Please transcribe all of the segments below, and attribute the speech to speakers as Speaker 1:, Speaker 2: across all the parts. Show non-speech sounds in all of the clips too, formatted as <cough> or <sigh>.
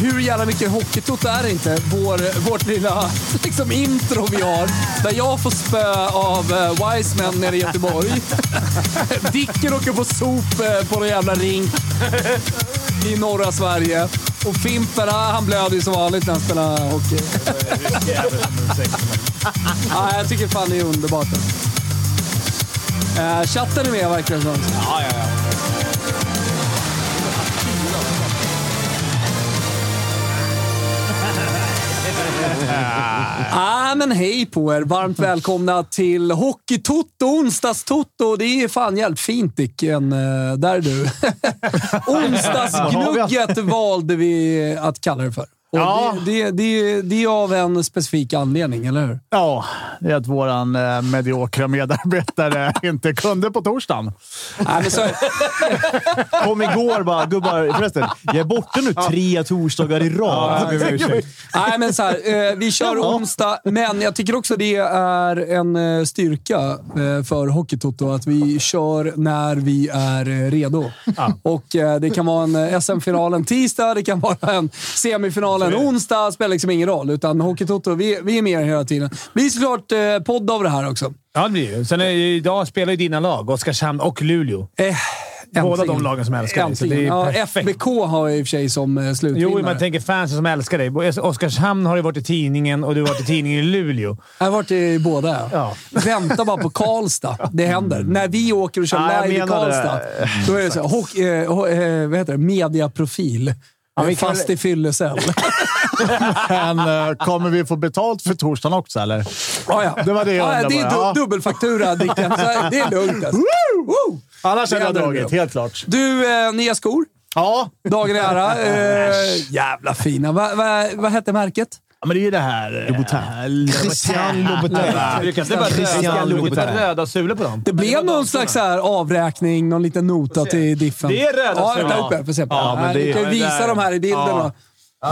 Speaker 1: hur jävla mycket Hockeytotto är det inte? Vår, vårt lilla liksom, intro vi har. Där jag får spö av uh, Wiseman nere i Göteborg. <laughs> Dicken åker på sop eh, på någon jävla rink i norra Sverige. Och Fimpen, ah, han blöder ju som vanligt när han spelar hockey. <laughs> ah, jag tycker fan det är underbart. Eh, chatten är med verkar det som.
Speaker 2: Ja, ja, ja.
Speaker 1: <laughs> Ah, men hej på er! Varmt välkomna till Hockeytotto, onsdagstotto. Det är fan jävligt fint Dicken. Eh, Där är du. <laughs> Onsdagsgnugget valde vi att kalla det för. Och
Speaker 3: Ja.
Speaker 1: det, det, det, det är av en specifik anledning, eller hur?
Speaker 3: Ja, det är att våran eh, mediokra medarbetare <laughs> inte kunde på torsdagen.
Speaker 1: Nej, men så,
Speaker 3: <laughs>
Speaker 4: Kom igår bara, gubbar, förresten, jag är borta nu tre torsdagar i rad.
Speaker 1: <laughs> nej, men så här, eh, vi kör onsdag, men jag tycker också det är en eh, styrka eh, för Hockeytotto att vi kör när vi är eh, redo. Och eh, Det kan vara en eh, SM-final en tisdag, det kan vara en semifinal en onsdag. spelar liksom ingen roll, utan Hockeytotto, vi, vi är med hela tiden. Det blir såklart eh, podd av det här också.
Speaker 2: Ja, det blir det ju. Sen är, idag spelar ju dina lag, Oskarshamn och Luleå.
Speaker 1: Eh,
Speaker 2: Båda
Speaker 1: äntligen.
Speaker 2: de lagen som älskar dig, så det är
Speaker 1: Äntligen. Ja,
Speaker 2: perfekt.
Speaker 1: FBK har jag i och för sig som eh, slutvinnare.
Speaker 2: Jo, man tänker fansen som älskar dig. alltså, Oskarshamn har ju varit i tidningen och du har varit i tidningen i Luleå.
Speaker 1: Jag har varit i båda. Ja. Vänta bara på Karlstad. Det händer. När vi åker och kör
Speaker 4: Ja, jag
Speaker 1: live i
Speaker 4: menar
Speaker 1: Karlstad,
Speaker 4: det.
Speaker 1: då är det så här, hock, eh, ho- eh, vad heter det? Mediaprofil.
Speaker 2: vi kan
Speaker 1: Fast
Speaker 2: väl-
Speaker 1: i fyllecell.
Speaker 3: <laughs> Men eh, kommer vi få betalt för torsdagen också, eller?
Speaker 1: Ah, ja.
Speaker 3: Det var det jag
Speaker 1: Ah, ja,
Speaker 3: undrade
Speaker 1: Det är
Speaker 3: bara. Ja.
Speaker 1: du- dubbelfaktura, Dicken. Så här, Det är lugnt. Alltså. Woo!
Speaker 3: Annars
Speaker 1: Det
Speaker 3: hade jag
Speaker 1: hade du
Speaker 3: dragit,
Speaker 1: gjort.
Speaker 3: helt klart.
Speaker 1: Du, eh, nya skor.
Speaker 3: Ja,
Speaker 1: Dagen i ära. Eh, jävla fina. Va, va, vad hette märket?
Speaker 3: men det är ju det här... Louboutin. Christian Louboutin.
Speaker 2: kan inte bara
Speaker 4: Christian Louboutin.
Speaker 2: röda sulor på dem.
Speaker 1: Det blev
Speaker 2: var
Speaker 1: någon
Speaker 2: de
Speaker 1: slags så här avräkning, någon liten nota till Diffen.
Speaker 2: Det är röda
Speaker 1: Ja,
Speaker 2: sulor.
Speaker 1: vänta upp här. Får se.
Speaker 4: Ja, men
Speaker 1: Nej,
Speaker 4: det-
Speaker 1: du kan ju
Speaker 2: ja, det
Speaker 1: visa
Speaker 2: där-
Speaker 1: de här i bilden.
Speaker 2: ja.
Speaker 1: då.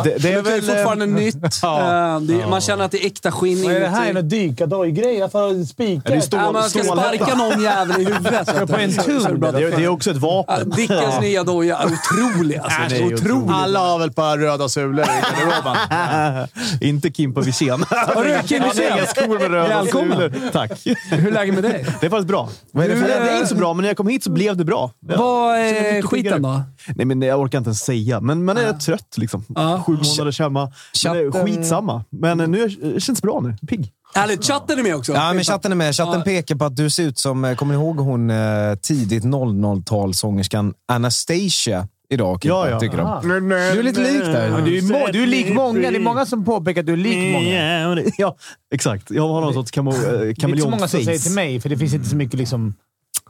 Speaker 4: Det, det är
Speaker 1: Men det är
Speaker 4: väl...
Speaker 1: fortfarande nytt. Eh, det, Man känner att det är äkta skinn
Speaker 2: Vad är det här?
Speaker 1: inuti.
Speaker 2: En dykadoj-grej? Varför har du spikar?
Speaker 4: det är stå-
Speaker 1: Ja, man ska
Speaker 4: stålhätta?
Speaker 1: sparka någon jävel i huvudet. Ska
Speaker 2: på en tub?
Speaker 4: Det, det är också ett vapen.
Speaker 1: Dickens nya doja. Otrolig alltså.
Speaker 4: det är ju
Speaker 1: Otrolig.
Speaker 3: Alla har väl ett par röda sulor i garderoben?
Speaker 1: <laughs>
Speaker 3: <laughs>
Speaker 4: Inte Kimpa Wirsén.
Speaker 1: Har du Kim
Speaker 4: Han har
Speaker 1: Wirsén?
Speaker 4: inga skor med röda
Speaker 1: Välkommen.
Speaker 4: sulor. Tack.
Speaker 1: Hur är läget med dig?
Speaker 4: Det är faktiskt bra. Vad är det,
Speaker 1: Du,
Speaker 4: för- det är
Speaker 1: eh,
Speaker 4: inte så bra, men när jag kom hit så blev det bra. Ja.
Speaker 1: Vad
Speaker 4: Så jag
Speaker 1: är
Speaker 4: fick
Speaker 1: skiten
Speaker 4: piggare.
Speaker 1: då?
Speaker 4: Nej, men jag orkar inte ens säga, men man är trött liksom.
Speaker 1: Ja.
Speaker 4: Sju månader hemma. Men det är
Speaker 1: Chatten-
Speaker 4: skitsamma. Men eh, nu det känns det bra nu. Pigg.
Speaker 1: Härligt. Chatten är med också.
Speaker 5: Ja, men chatten är med. Chatten
Speaker 1: Ja.
Speaker 5: pekar på att du ser ut som, eh, kommer ni ihåg hon eh, tidigt 00-talsångerskan Anastasia idag? Kimpa,
Speaker 4: Ja, ja.
Speaker 5: tycker
Speaker 2: Ah.
Speaker 5: de. Du är lite lik där.
Speaker 2: Ja, du, är må- du är lik många. Det är många som påpekar att du är lik många.
Speaker 4: Ja, exakt. Jag har någon sorts eh, kameleontface.
Speaker 2: Det är inte så många som säger till mig, för det finns inte så mycket liksom...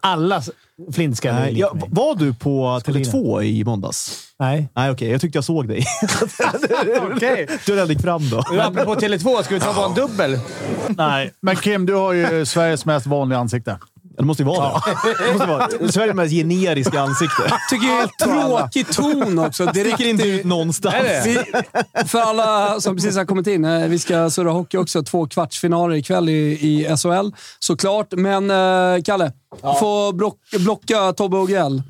Speaker 2: Alla s- flintskallar är
Speaker 4: Nej,
Speaker 2: lik
Speaker 4: ja,
Speaker 2: mig.
Speaker 4: var du på
Speaker 2: Skolina.
Speaker 4: Tele2 i måndags?
Speaker 2: Nej.
Speaker 4: Nej, okej. Jag tyckte jag såg
Speaker 2: <laughs>
Speaker 4: dig.
Speaker 2: Okej.
Speaker 4: Du hade gick fram då.
Speaker 2: Du, Apropå Tele2, ska vi ta på en dubbel?
Speaker 3: Nej, men Kim, du har ju Sveriges mest vanliga ansikte.
Speaker 4: Det måste ju
Speaker 3: <laughs>
Speaker 4: vara det. det. Måste vara. det. Sveriges mest generiska ansikte.
Speaker 1: Tycker jag är tråkig ton också. Direkt
Speaker 4: Sticker inte ut någonstans.
Speaker 1: Vi, för alla som precis har kommit in, eh, vi ska surra hockey också. Två kvartsfinaler ikväll i, i SHL, såklart. Men eh, Kalle, du får block, blocka Tobbe Ogell.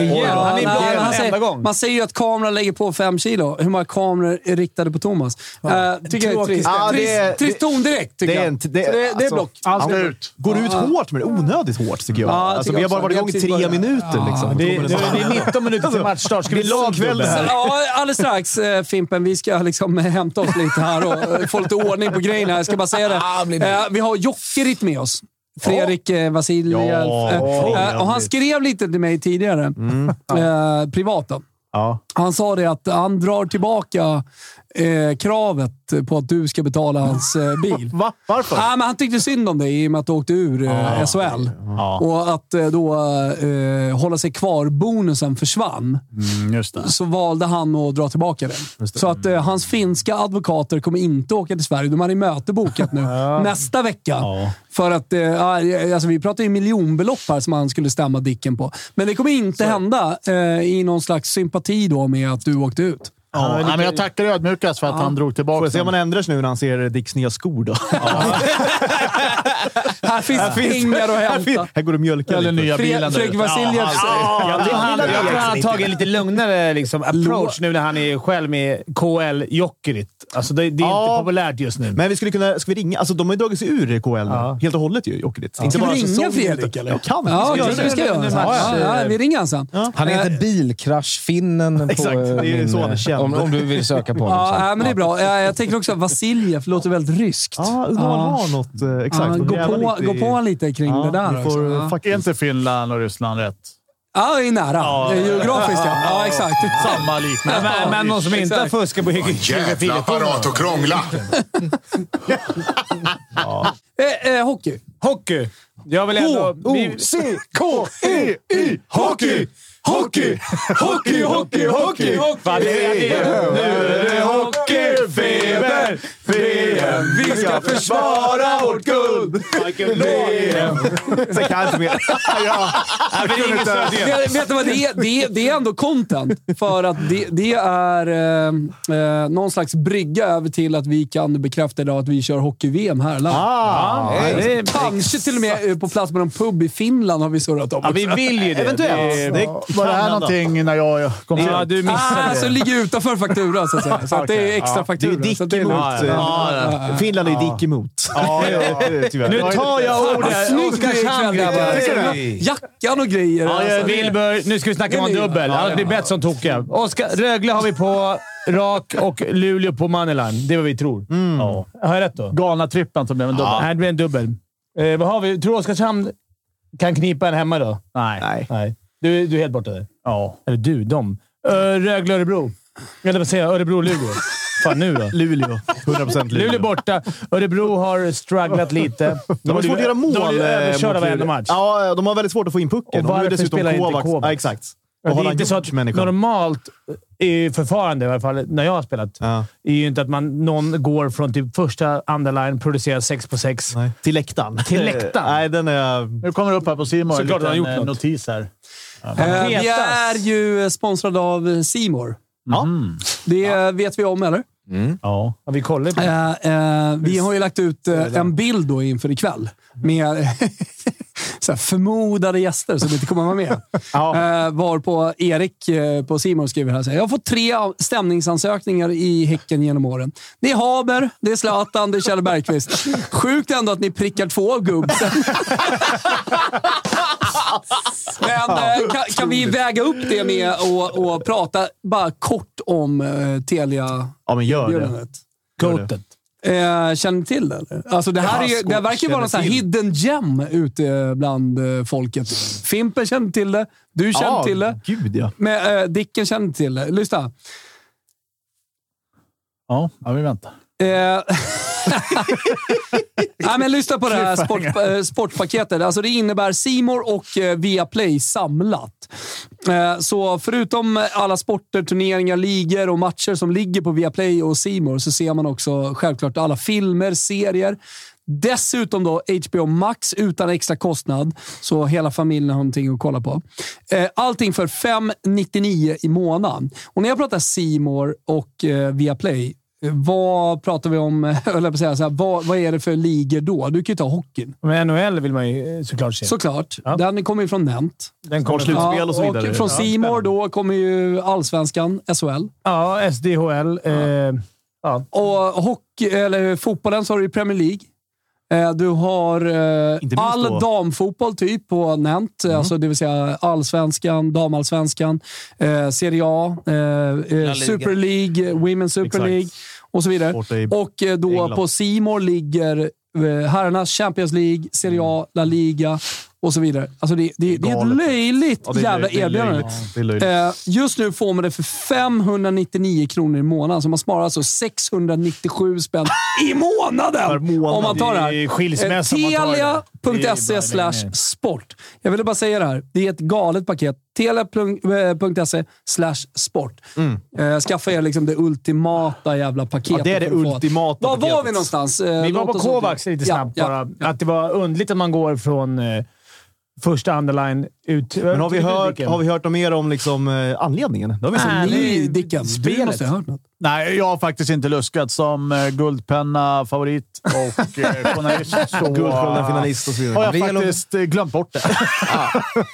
Speaker 2: Igen? Han är
Speaker 1: Ja, nej,
Speaker 2: bara
Speaker 1: men
Speaker 2: en
Speaker 1: han
Speaker 2: enda
Speaker 1: säger,
Speaker 2: gång.
Speaker 1: man säger ju att kameran lägger på fem kilo. Hur många kameror är riktade på Thomas? Eh, tycker jag är trist.
Speaker 4: Ja, det är-
Speaker 1: trist, trist ton direkt, tycker
Speaker 4: Det är,
Speaker 1: jag.
Speaker 4: en,
Speaker 1: Så
Speaker 4: det,
Speaker 1: det, det är
Speaker 4: alltså,
Speaker 1: block.
Speaker 3: Han ska ut.
Speaker 4: Går du ut hårt med det? Onödigt hårt, tycker jag.
Speaker 1: Ja, jag
Speaker 4: alltså,
Speaker 1: tycker
Speaker 4: vi har bara
Speaker 1: också.
Speaker 4: varit
Speaker 1: Vi har
Speaker 4: igång i
Speaker 1: precis
Speaker 4: tre
Speaker 1: börjat.
Speaker 4: minuter. Liksom.
Speaker 2: Det, det, det är 19 minuter till matchstart. Ska vi
Speaker 4: Det är lång kväll det här.
Speaker 1: <laughs> Ja, alldeles strax eh, Fimpen. Vi ska liksom eh, hämta oss lite här och eh, få lite ordning på grejerna. Jag ska bara säga det. Eh, Vi har Jockerit med oss. Fredrik ja. Vasiljev.
Speaker 4: Ja,
Speaker 1: Eh, eh, och han
Speaker 4: Fredrik.
Speaker 1: skrev lite till mig tidigare, eh, privat. Då.
Speaker 4: Ja.
Speaker 1: Han sa det att han drar tillbaka eh, kravet på att du ska betala hans eh, bil.
Speaker 3: Va? Varför?
Speaker 1: Nej, men han tyckte synd om dig i och med att du åkte ur eh, SHL. Och att eh, då eh, hålla sig kvar-bonusen försvann
Speaker 3: Mm, just det.
Speaker 1: så valde han att dra tillbaka den. Så att eh, hans finska advokater kommer inte åka till Sverige. De har i möte bokat nu nästa vecka. För att, eh, ja, alltså, vi pratar ju miljonbelopp här som han skulle stämma Dicken på. Men det kommer inte hända eh, i någon slags sympati då med att du åkte ut.
Speaker 3: Ja, nej, men jag tackar ödmjukast för att han drog
Speaker 4: Får
Speaker 3: tillbaka
Speaker 4: jag se om
Speaker 3: den.
Speaker 4: han ändrar sig nu när han ser Dicks nya skor då? Ja.
Speaker 1: <laughs> Här finns pengar att
Speaker 4: Här, fin-
Speaker 1: hämta.
Speaker 4: här går det mjölka
Speaker 3: Eller
Speaker 4: lite.
Speaker 3: nya
Speaker 1: Fre-
Speaker 3: bilen. där
Speaker 1: Fredrik
Speaker 3: ute.
Speaker 1: Vasiljev säger-
Speaker 2: Ja,
Speaker 4: det-
Speaker 2: han,
Speaker 4: det-
Speaker 2: jag tror han har tagit en lite lugnare liksom, approach nu när han är själv med KL Jokerit. Alltså, det, det är
Speaker 4: Ja.
Speaker 2: inte populärt just nu.
Speaker 4: Men vi skulle kunna... Ska vi ringa? Alltså, de har ju dragit sig ur KL nu.
Speaker 2: Ja.
Speaker 4: Helt och hållet ju, Jokerit. Inte
Speaker 1: Ska vi ringa
Speaker 4: säsongen,
Speaker 1: Fredrik
Speaker 4: utan-
Speaker 1: eller?
Speaker 4: Jag kan.
Speaker 1: Ja,
Speaker 4: vi ska
Speaker 1: det
Speaker 4: göra
Speaker 1: ska vi
Speaker 4: det.
Speaker 1: göra.
Speaker 2: Ja,
Speaker 1: Ja,
Speaker 2: ja.
Speaker 1: ja, vi ringer han sen. Ja,
Speaker 5: Han heter Bilkraschfinnen. på, eh,
Speaker 4: Exakt, det är ju så han är känd.
Speaker 5: Om, om du vill söka på honom. sen.
Speaker 1: ja, men det är bra. Ja, Jag tänker också att Vasiljev låter väldigt ryskt.
Speaker 4: Ja, undrar om han
Speaker 1: Ja.
Speaker 4: har något. eh, Exakt.
Speaker 1: Ja,
Speaker 4: De
Speaker 1: gå,
Speaker 4: gräver
Speaker 1: på,
Speaker 4: lite i-
Speaker 1: gå på han lite kring
Speaker 4: Ja,
Speaker 1: det där
Speaker 4: vi får,
Speaker 1: också. Ja.
Speaker 4: eh, fuck-
Speaker 3: Är inte Finland och Ryssland rätt?
Speaker 1: Ja, det är nära. Det är Geografiskt, ja. Ja, exakt.
Speaker 3: Samma liknande.
Speaker 2: men, men någon som inte har
Speaker 1: Exakt.
Speaker 2: fuskat på
Speaker 6: Jävla apparat och krångla!
Speaker 1: <laughs> Eh, eh, hockey.
Speaker 2: Hockey! Jag vill ändå... vi-
Speaker 1: K-E-I! Hockey! Hockey! Hockey, hockey, hockey,
Speaker 2: Fan, det är- det är- nu är det
Speaker 1: hockeyfeber! VM! Vi ska försvara vårt guld!
Speaker 4: Sen kan jag inte mer.
Speaker 2: Nej, men ingen stöd igen.
Speaker 1: Vet, vet du vad? Det är, det, är, det är ändå content. För att det, det är eh, eh, någon slags brygga över till att vi kan bekräfta idag att vi kör hockey-VM här i landet.
Speaker 4: Ah,
Speaker 1: Ja,
Speaker 2: det är-
Speaker 1: Kanske till och med eh, på plats med någon pub i Finland har vi surrat om.
Speaker 2: Ja, vi vill ju det.
Speaker 4: Eventuellt.
Speaker 2: Det-
Speaker 3: Var det här någonting när jag kom
Speaker 2: det- Ja,
Speaker 3: hit?
Speaker 2: du
Speaker 1: Ah,
Speaker 2: missade
Speaker 1: så
Speaker 2: det.
Speaker 1: ligger utanför faktura så att säga. Så att det är extra
Speaker 4: det är
Speaker 1: faktura.
Speaker 4: ju dick
Speaker 1: så att det är
Speaker 4: emot.
Speaker 1: lugnt.
Speaker 4: eh,
Speaker 2: Ja,
Speaker 4: Finland är ju dick emot.
Speaker 3: Ja, ja.
Speaker 4: Tyvärr.
Speaker 2: Nu tar jag
Speaker 1: Vad
Speaker 2: ordet.
Speaker 1: snygg du är
Speaker 2: Oskarshamn, grabbar.
Speaker 1: grabbar! Jackan och grejer.
Speaker 2: Ja,
Speaker 1: alltså,
Speaker 2: ja,
Speaker 1: det-
Speaker 2: Wilbur, nu ska vi snacka om en dubbel. Ja, det blir bett som tokiga. Oskar, Rögle har vi på rak och Luleå på moneyline. Det är vad vi tror.
Speaker 4: Mm.
Speaker 2: Ja. Har jag rätt då?
Speaker 3: Galna trippen som blev en dubbel.
Speaker 2: Nej, det blir en dubbel. Eh, vad har vi? Tror du Oskarshamn kan knipa en hemma då?
Speaker 3: Nej.
Speaker 2: Nej. Du, du är helt borta där.
Speaker 3: Ja.
Speaker 2: Eller du, de. Ö, Rögle, Örebro. Eller vad säger jag? Örebro, Luleå. Fan nu då?
Speaker 4: Luleå. 100% Luleå.
Speaker 2: Luleå borta. Örebro har strugglat lite.
Speaker 4: De har svårt att göra mål.
Speaker 2: De har blivit
Speaker 4: eh,
Speaker 2: överkörda
Speaker 4: mot
Speaker 2: varenda
Speaker 4: Luleå.
Speaker 2: match.
Speaker 4: Ja, de har väldigt svårt att få in pucken.
Speaker 2: Och
Speaker 4: de har ju
Speaker 2: varför
Speaker 4: dessutom
Speaker 2: spelar inte
Speaker 4: Kovacs.
Speaker 2: Kovacs?
Speaker 4: Ja, exakt.
Speaker 2: Ja,
Speaker 4: Vad
Speaker 2: det
Speaker 4: har
Speaker 2: är
Speaker 4: han
Speaker 2: inte så att
Speaker 4: gjort, människan?
Speaker 2: normalt i förfarande, i alla fall när jag har spelat,
Speaker 4: Ja.
Speaker 2: är ju inte att man, någon går från typ första underline, producerar sex på sex.
Speaker 4: Nej. Till läktaren.
Speaker 2: Till läktaren?
Speaker 4: Nej, den är...
Speaker 3: Nu kommer det upp här på Simon.
Speaker 2: Såklart
Speaker 3: en
Speaker 2: han har
Speaker 3: liten,
Speaker 2: gjort
Speaker 3: eh,
Speaker 2: något.
Speaker 3: notis här.
Speaker 1: Eh, Vi
Speaker 2: Petas.
Speaker 1: är ju sponsrade av Simor.
Speaker 4: Ja.
Speaker 1: Det vet vi om, eller?
Speaker 3: Ja.
Speaker 2: Ja, vi kollar ju på det.
Speaker 1: Eh, eh, vi har ju lagt ut eh, en bild då inför ikväll med <laughs> så här förmodade gäster som inte kommer
Speaker 2: <laughs>
Speaker 1: vara med. ja. eh, varpå Erik eh, på Simon skriver här så här, Jag har fått tre av- stämningsansökningar i Häcken genom åren. Det är Haber, det är Zlatan, det är Kjell Bergqvist. Sjukt ändå att ni prickar två av gubbsen. Men eh, kan, kan vi väga upp det med och, och prata bara kort om eh, Telia?
Speaker 4: Ja, men gör det.
Speaker 1: erbjudandet?
Speaker 2: Goatet.
Speaker 1: Eh, känner ni till det eller? Alltså det här är ju, det verkar ju vara någon sån här hidden gem ute bland eh, folket. Fimpen känner till det. Du känner
Speaker 4: Ja,
Speaker 1: till det.
Speaker 4: gud ja.
Speaker 1: Men, eh, Dicken känner till det. Lyssna.
Speaker 3: Ja, ja, vi väntar.
Speaker 1: Eh, <laughs> Nej, men lyssna på det här sport, eh, sportpaketet. Alltså det innebär Simor och eh, Viaplay samlat. Eh, Så förutom alla sporter, turneringar, ligor och matcher som ligger på Viaplay och Simor så ser man också självklart alla filmer, serier. Dessutom då HBO Max utan extra kostnad, så hela familjen har någonting att kolla på. Eh, Allting för 599 i månaden. Och när jag pratar Simor och eh, Viaplay, eh, vad pratar vi om? <laughs> eh, höll Jag på att säga, så här, vad, vad är det för ligor då? Du kan ju ta hockeyn.
Speaker 2: Men NHL vill man ju eh, såklart se.
Speaker 1: Såklart.
Speaker 2: Ja.
Speaker 1: Den kommer ju från Nent.
Speaker 2: Den kommer
Speaker 4: Sportslut.
Speaker 2: från-
Speaker 4: Slutspel och så vidare.
Speaker 1: och från
Speaker 4: Ja,
Speaker 1: Simor
Speaker 4: spännande.
Speaker 1: då kommer ju allsvenskan, SHL.
Speaker 2: Ja, SDHL. Eh, ja.
Speaker 1: Och hockey, eller fotbollen så har du ju Premier League. Eh, Du har eh,
Speaker 4: minst
Speaker 1: all
Speaker 4: då. Mm.
Speaker 1: damfotboll typ på Nent, alltså det vill säga allsvenskan, damallsvanskan, eh, Serie A, eh, eh, Super League, Women's Super
Speaker 4: Exakt.
Speaker 1: League och så vidare.
Speaker 4: Borta i-
Speaker 1: Och eh, då
Speaker 4: England.
Speaker 1: på Simor ligger eh, herrarnas Champions League, Serie A, La Liga och så vidare. Alltså det, det, det är ett
Speaker 4: Mm. Galet.
Speaker 1: löjligt
Speaker 4: Ja, det är
Speaker 1: jävla
Speaker 4: löjligt. Det är
Speaker 1: erbjudande.
Speaker 4: löjligt. Det är löjligt.
Speaker 1: Eh, just nu får man det för 599 kronor i månaden, så man sparar alltså 697 spänn i månaden,
Speaker 4: Per månad.
Speaker 1: om man tar det här. Eh,
Speaker 2: Det är skilsmässa om man tar det. Det är bara
Speaker 1: Telia.se
Speaker 2: att lägga
Speaker 1: E slash sport. Jag ville bara säga det här. Det är ett galet paket. eh, Telia.se E slash sport. Eh, skaffa er liksom det ultimata jävla paketet.
Speaker 4: Ja, det är det
Speaker 1: för att få-
Speaker 4: ultimata
Speaker 1: Var var
Speaker 4: paketet.
Speaker 1: vi
Speaker 5: Eh,
Speaker 1: någonstans?
Speaker 2: Vi var på Kovacs lite snabbt bara. Att det var undligt att man går från eh, första underline ut...
Speaker 4: Men har vi, hört, har vi hört något mer om liksom, eh, anledningen? Det har vi
Speaker 2: Nej,
Speaker 4: inte.
Speaker 1: Ni, Dickan, du
Speaker 2: spelet.
Speaker 1: måste ha hört något.
Speaker 3: Nej, jag har faktiskt inte luskat som eh, guldpenna, favorit och eh, journalist. Så
Speaker 4: Guldskölden-finalist och så vidare.
Speaker 3: har jag
Speaker 5: Det gäller-
Speaker 3: faktiskt eh, glömt bort det.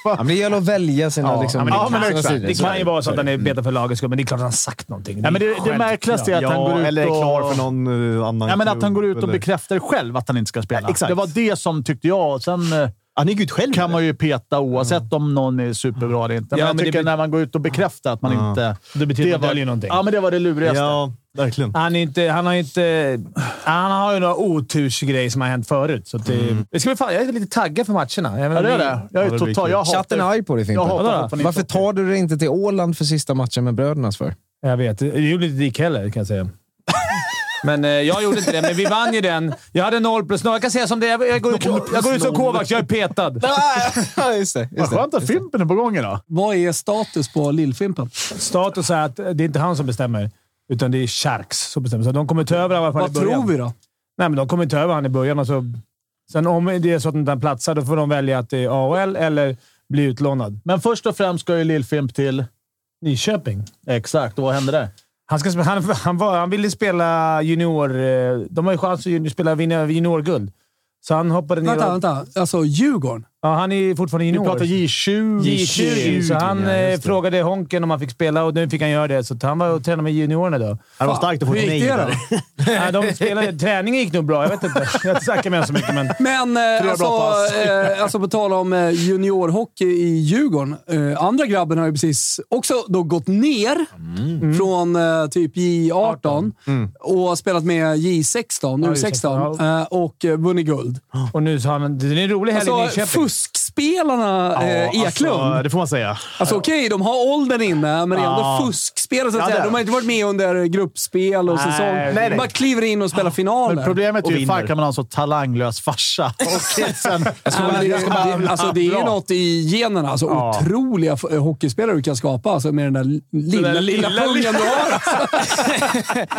Speaker 5: Ja, men det gäller att välja sina...
Speaker 2: Ja,
Speaker 5: liksom,
Speaker 2: men det,
Speaker 3: Ja, men
Speaker 2: kan,
Speaker 3: exakt.
Speaker 2: det kan ju vara så Mm. att han är beta för lagets skull, men det är klart att han sagt någonting.
Speaker 3: Ja, men det, det
Speaker 2: självklart.
Speaker 3: märkligaste är att han går ut
Speaker 4: eller är
Speaker 3: och...
Speaker 4: klar för någon eh, annan
Speaker 3: Ja, men att han går ut och
Speaker 4: klubb, eller-
Speaker 3: bekräftar själv att han inte ska spela.
Speaker 4: Ja, exakt.
Speaker 3: Det var det som tyckte jag. Sen eh,
Speaker 4: Han gick ut själv.
Speaker 3: kan man ju peta oavsett om någon är superbra eller inte. Men
Speaker 2: Ja,
Speaker 3: jag
Speaker 2: men det
Speaker 3: tycker
Speaker 2: bet-
Speaker 3: när man går ut och bekräftar att man
Speaker 4: Ja.
Speaker 3: inte...
Speaker 2: Det betyder att
Speaker 3: var,
Speaker 2: man döljer någonting. <laughs>
Speaker 3: Ja, men det var det lurigaste.
Speaker 4: Ja, verkligen.
Speaker 2: Han, är inte, han har ju inte... Han har ju några otursgrejer som har hänt förut. Så att det, det ska bli fan, jag är lite taggad för matcherna. Jag menar,
Speaker 3: Ja, det är
Speaker 2: vi-
Speaker 3: det. Jag är
Speaker 4: Ja, det blir
Speaker 3: total...
Speaker 4: kul.
Speaker 3: Jag
Speaker 5: Chatten är
Speaker 3: hatar...
Speaker 5: arg på dig,
Speaker 3: Jag
Speaker 5: Fimpen.
Speaker 3: hatar
Speaker 2: Vadå?
Speaker 3: att man inte
Speaker 5: Varför tar du dig inte till Åland för sista matchen med brödernas för?
Speaker 2: Jag vet. Det gjorde inte Dick heller, kan jag säga. Men eh, jag gjorde inte det, men vi vann ju den. Jag hade noll plus noll. Jag kan säga som det är. jag, jag går ut, jag går ut som Kovacs. Jag är petad.
Speaker 5: Ja, just det.
Speaker 3: Vad
Speaker 5: Just det.
Speaker 3: skönt att Fimpen är på gång idag.
Speaker 1: Vad är status på Lillfimpen?
Speaker 2: Status är att det är inte han som bestämmer, utan det är Sharks som bestämmer. Så de kommer ta över i alla fall i
Speaker 1: Vad
Speaker 2: början.
Speaker 1: tror vi då?
Speaker 2: Nej, men de kommer ta över han i början. Alltså. Sen om det är så att den inte han platsar, då får de välja att det är AHL eller bli utlånad.
Speaker 3: Men först och främst ska ju Lillfimp till...
Speaker 2: Nyköping.
Speaker 3: Exakt, och vad hände där?
Speaker 2: Han, ska, sp- han, han, var, han ville spela junior... eh, De har ju chans att junior, spela, vinna juniorguld. Så han hoppade ner.
Speaker 1: Vänta,
Speaker 2: och-
Speaker 1: vänta. Alltså Djurgården?
Speaker 2: Ja, han är fortfarande
Speaker 3: Vi
Speaker 2: junior.
Speaker 3: pratar J20.
Speaker 2: J20, så han
Speaker 5: Ja,
Speaker 2: eh,
Speaker 5: just det.
Speaker 1: <laughs>
Speaker 2: frågade Honken om han fick spela och nu fick han göra det. Så att han var och tränade med juniorerna då.
Speaker 4: Det var starkt att få
Speaker 1: Hur
Speaker 4: ett
Speaker 1: gick
Speaker 4: nej
Speaker 1: det
Speaker 4: där.
Speaker 1: då?
Speaker 2: Nej, de spelade, träningen gick nog bra. Jag vet inte. Jag snackar med honom så mycket, men...
Speaker 1: <laughs> Men eh, alltså,
Speaker 3: pass.
Speaker 1: eh, alltså på tal om eh, juniorhockey i Djurgården. Eh, andra grabben har ju precis också då gått ner
Speaker 2: Mm.
Speaker 1: från eh, typ J18 och spelat med J16, nu
Speaker 2: Ja,
Speaker 1: U16,
Speaker 2: J16,
Speaker 1: eh, och eh, vunnit guld.
Speaker 2: <gasps> Och nu sa han det är en rolig helg i
Speaker 1: Alltså
Speaker 2: Nyköping.
Speaker 1: fuskspelarna eh, Eklund.
Speaker 4: Ja,
Speaker 1: Alltså,
Speaker 4: det får man säga.
Speaker 1: okej, de har åldern inne, men det är ändå
Speaker 3: Ja.
Speaker 1: fuskspelare så att
Speaker 3: Ja,
Speaker 1: säga.
Speaker 3: det är
Speaker 1: De har inte varit med under gruppspel och
Speaker 2: Nej,
Speaker 1: säsong.
Speaker 2: nej,
Speaker 1: De
Speaker 2: nej.
Speaker 1: bara kliver in och spelar finaler.
Speaker 3: Men problemet är
Speaker 4: Och
Speaker 3: ju, fan
Speaker 4: vinner.
Speaker 3: kan man ha en så talanglös
Speaker 1: <laughs>
Speaker 3: farsa? Och <laughs> sen,
Speaker 1: Ja, men det, det, alltså, det är ju något i generna. Alltså, Otroliga f- eh, hockeyspelare du kan skapa alltså, med den där l- lilla,
Speaker 2: där
Speaker 1: lilla,
Speaker 2: lilla-
Speaker 1: pungen du har. Alltså.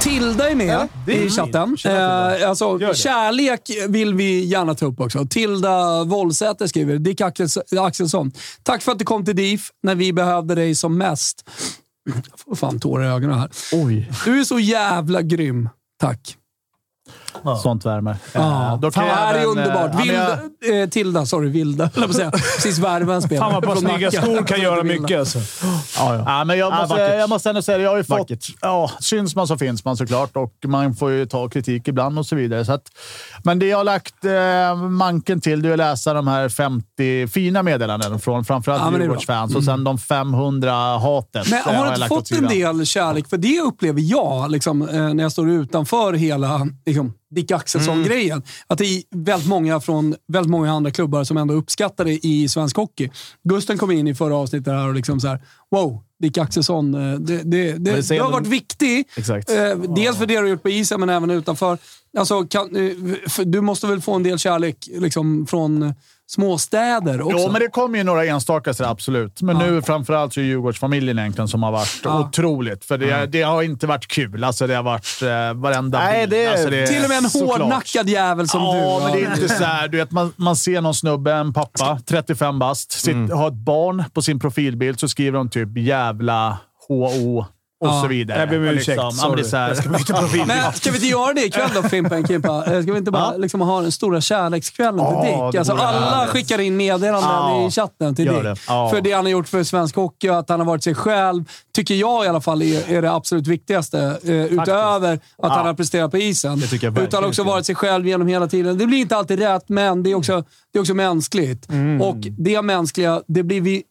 Speaker 1: Tilda är med i chatten. Eh, alltså,
Speaker 2: det.
Speaker 1: kärlek vill vi gärna ta upp också. Tilda Wollsäter skriver, Dick Axels- Axelsson. Tack för att du kom till DIF när vi behövde dig som mest. Jag får fan tårar i ögonen här.
Speaker 3: Oj.
Speaker 1: Du är så jävla grym. Tack.
Speaker 3: Sånt värmer.
Speaker 1: Ja,
Speaker 3: Eh, då
Speaker 1: fan,
Speaker 3: kan
Speaker 1: det
Speaker 3: jag
Speaker 1: här är
Speaker 3: även, eh,
Speaker 1: underbart.
Speaker 3: ja, men jag-
Speaker 1: Vilda, eh, Tilda, sorry, Vilda, höll jag på att <laughs> säga. Precis värva en spelare.
Speaker 2: Fan vad bara
Speaker 1: från
Speaker 2: snygga
Speaker 1: Nacka.
Speaker 2: skor kan göra
Speaker 1: Vilda.
Speaker 2: mycket alltså.
Speaker 3: <gasps> Ja, men jag,
Speaker 2: Ja,
Speaker 3: måste,
Speaker 2: vackert.
Speaker 3: jag måste ändå säga det. Jag har ju fått,
Speaker 4: Vackert.
Speaker 3: ja, syns man så finns man såklart och man får ju ta kritik ibland och så vidare. Så att, men det jag har lagt eh, manken till det är att läsa de här 50 fina meddelanden från framförallt
Speaker 1: Ja, men det är bra. Mm.
Speaker 3: Djurgårdsfans och sen de 500 hatet.
Speaker 1: Men
Speaker 3: eh,
Speaker 1: har du
Speaker 3: jag
Speaker 1: inte
Speaker 3: lagt åt
Speaker 1: fått en
Speaker 3: sidan.
Speaker 1: del kärlek? För det upplever jag liksom, eh, när jag står utanför hela liksom, Dick Axelsson-grejen. Att det är väldigt många från väldigt många andra klubbar som ändå uppskattar det i svensk hockey. Gusten kom in i förra avsnittet här och liksom så här, wow, Dick Axelsson, eh, det, det, det,
Speaker 4: det
Speaker 1: du
Speaker 4: är
Speaker 1: har
Speaker 4: ändå-
Speaker 1: varit viktig.
Speaker 4: Exakt.
Speaker 1: Eh, dels för det du har gjort på isen, men även utanför. Alltså, kan, eh, för, du måste väl få en del kärlek liksom, från eh, småstäder också?
Speaker 3: Jo, men det kommer ju några enstaka sådär, absolut. Men
Speaker 1: Ja.
Speaker 3: nu framförallt så är Djurgårdsfamiljen egentligen som har varit
Speaker 1: Ja.
Speaker 3: otroligt. För det, det har inte varit kul. Alltså, det har varit eh, varenda
Speaker 4: Nej,
Speaker 3: bild.
Speaker 4: det är-
Speaker 3: Alltså, det
Speaker 1: Till och med en
Speaker 3: såklart.
Speaker 1: hårdnackad jävel som
Speaker 3: ja,
Speaker 1: du.
Speaker 3: men det är inte så här, du vet, man, man ser någon snubbe, en pappa, 35 bast, sitt, har ett barn på sin profilbild, så skriver de typ jävla HO och
Speaker 1: Ja.
Speaker 3: så vidare.
Speaker 2: Jag ber om
Speaker 3: Och
Speaker 2: ursäkt,
Speaker 3: ja, men det är så här,
Speaker 1: Men ska vi inte göra det ikväll då, Fimpen Kimpa? Eh, Ska vi inte bara liksom, ha den stora kärlekskvällen
Speaker 3: Ja,
Speaker 1: till Dick?
Speaker 3: det
Speaker 1: Alltså,
Speaker 3: vore
Speaker 1: alla
Speaker 3: härligt.
Speaker 1: skickar in meddelanden
Speaker 3: Ja,
Speaker 1: i chatten till
Speaker 3: gör
Speaker 1: Dick.
Speaker 3: det. Ja.
Speaker 1: För det han har gjort för svensk hockey och att han har varit sig själv, tycker jag i alla fall är, är det absolut viktigaste. Eh, utöver att han har presterat på isen.
Speaker 4: tycker jag
Speaker 1: utan
Speaker 4: verkligen
Speaker 1: också
Speaker 4: ska.
Speaker 1: varit sig själv genom hela tiden. Det blir inte alltid rätt, men det är också, det är också mänskligt.
Speaker 4: Mm.
Speaker 1: Och det mänskliga, det blir vi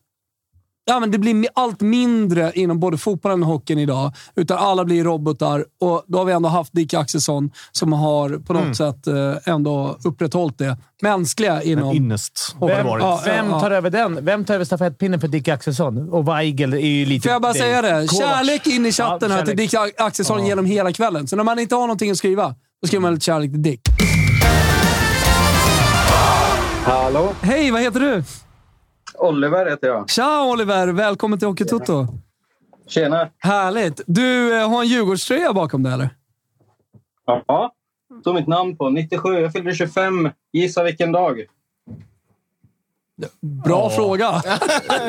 Speaker 1: ja, men det blir mi- allt mindre inom både fotbollen och hockeyn idag. Utan alla blir robotar och då har vi ändå haft Dick Axelsson som har på
Speaker 4: Mm.
Speaker 1: något sätt eh, ändå upprätthållit det mänskliga inom...
Speaker 4: Innest har det
Speaker 2: Vem,
Speaker 4: varit.
Speaker 1: ja,
Speaker 2: vem
Speaker 1: ja.
Speaker 2: tar över den? Vem tar över stafettpinnen för Dick Axelsson? Och Weigel är ju lite...
Speaker 1: Får jag bara
Speaker 2: det-
Speaker 1: säga det?
Speaker 2: Kovacs.
Speaker 1: Kärlek in i
Speaker 2: typ Ja,
Speaker 1: chatten här till
Speaker 2: kärlek.
Speaker 1: Dick A- Axelsson genom hela kvällen. Så när man inte har någonting att skriva, då skriver man lite kärlek till Dick.
Speaker 7: Hallå,
Speaker 1: Hej, vad heter du?
Speaker 7: Oliver heter jag.
Speaker 1: Tja Oliver! Välkommen till Hockeytoto.
Speaker 7: Tjena.
Speaker 1: Härligt! Du eh, har en Djurgårdströja bakom dig, eller?
Speaker 7: Ja, Stod mitt namn på. 97. Jag fyllde 25. Gissa vilken dag?
Speaker 1: Bra
Speaker 4: <laughs>
Speaker 1: fråga.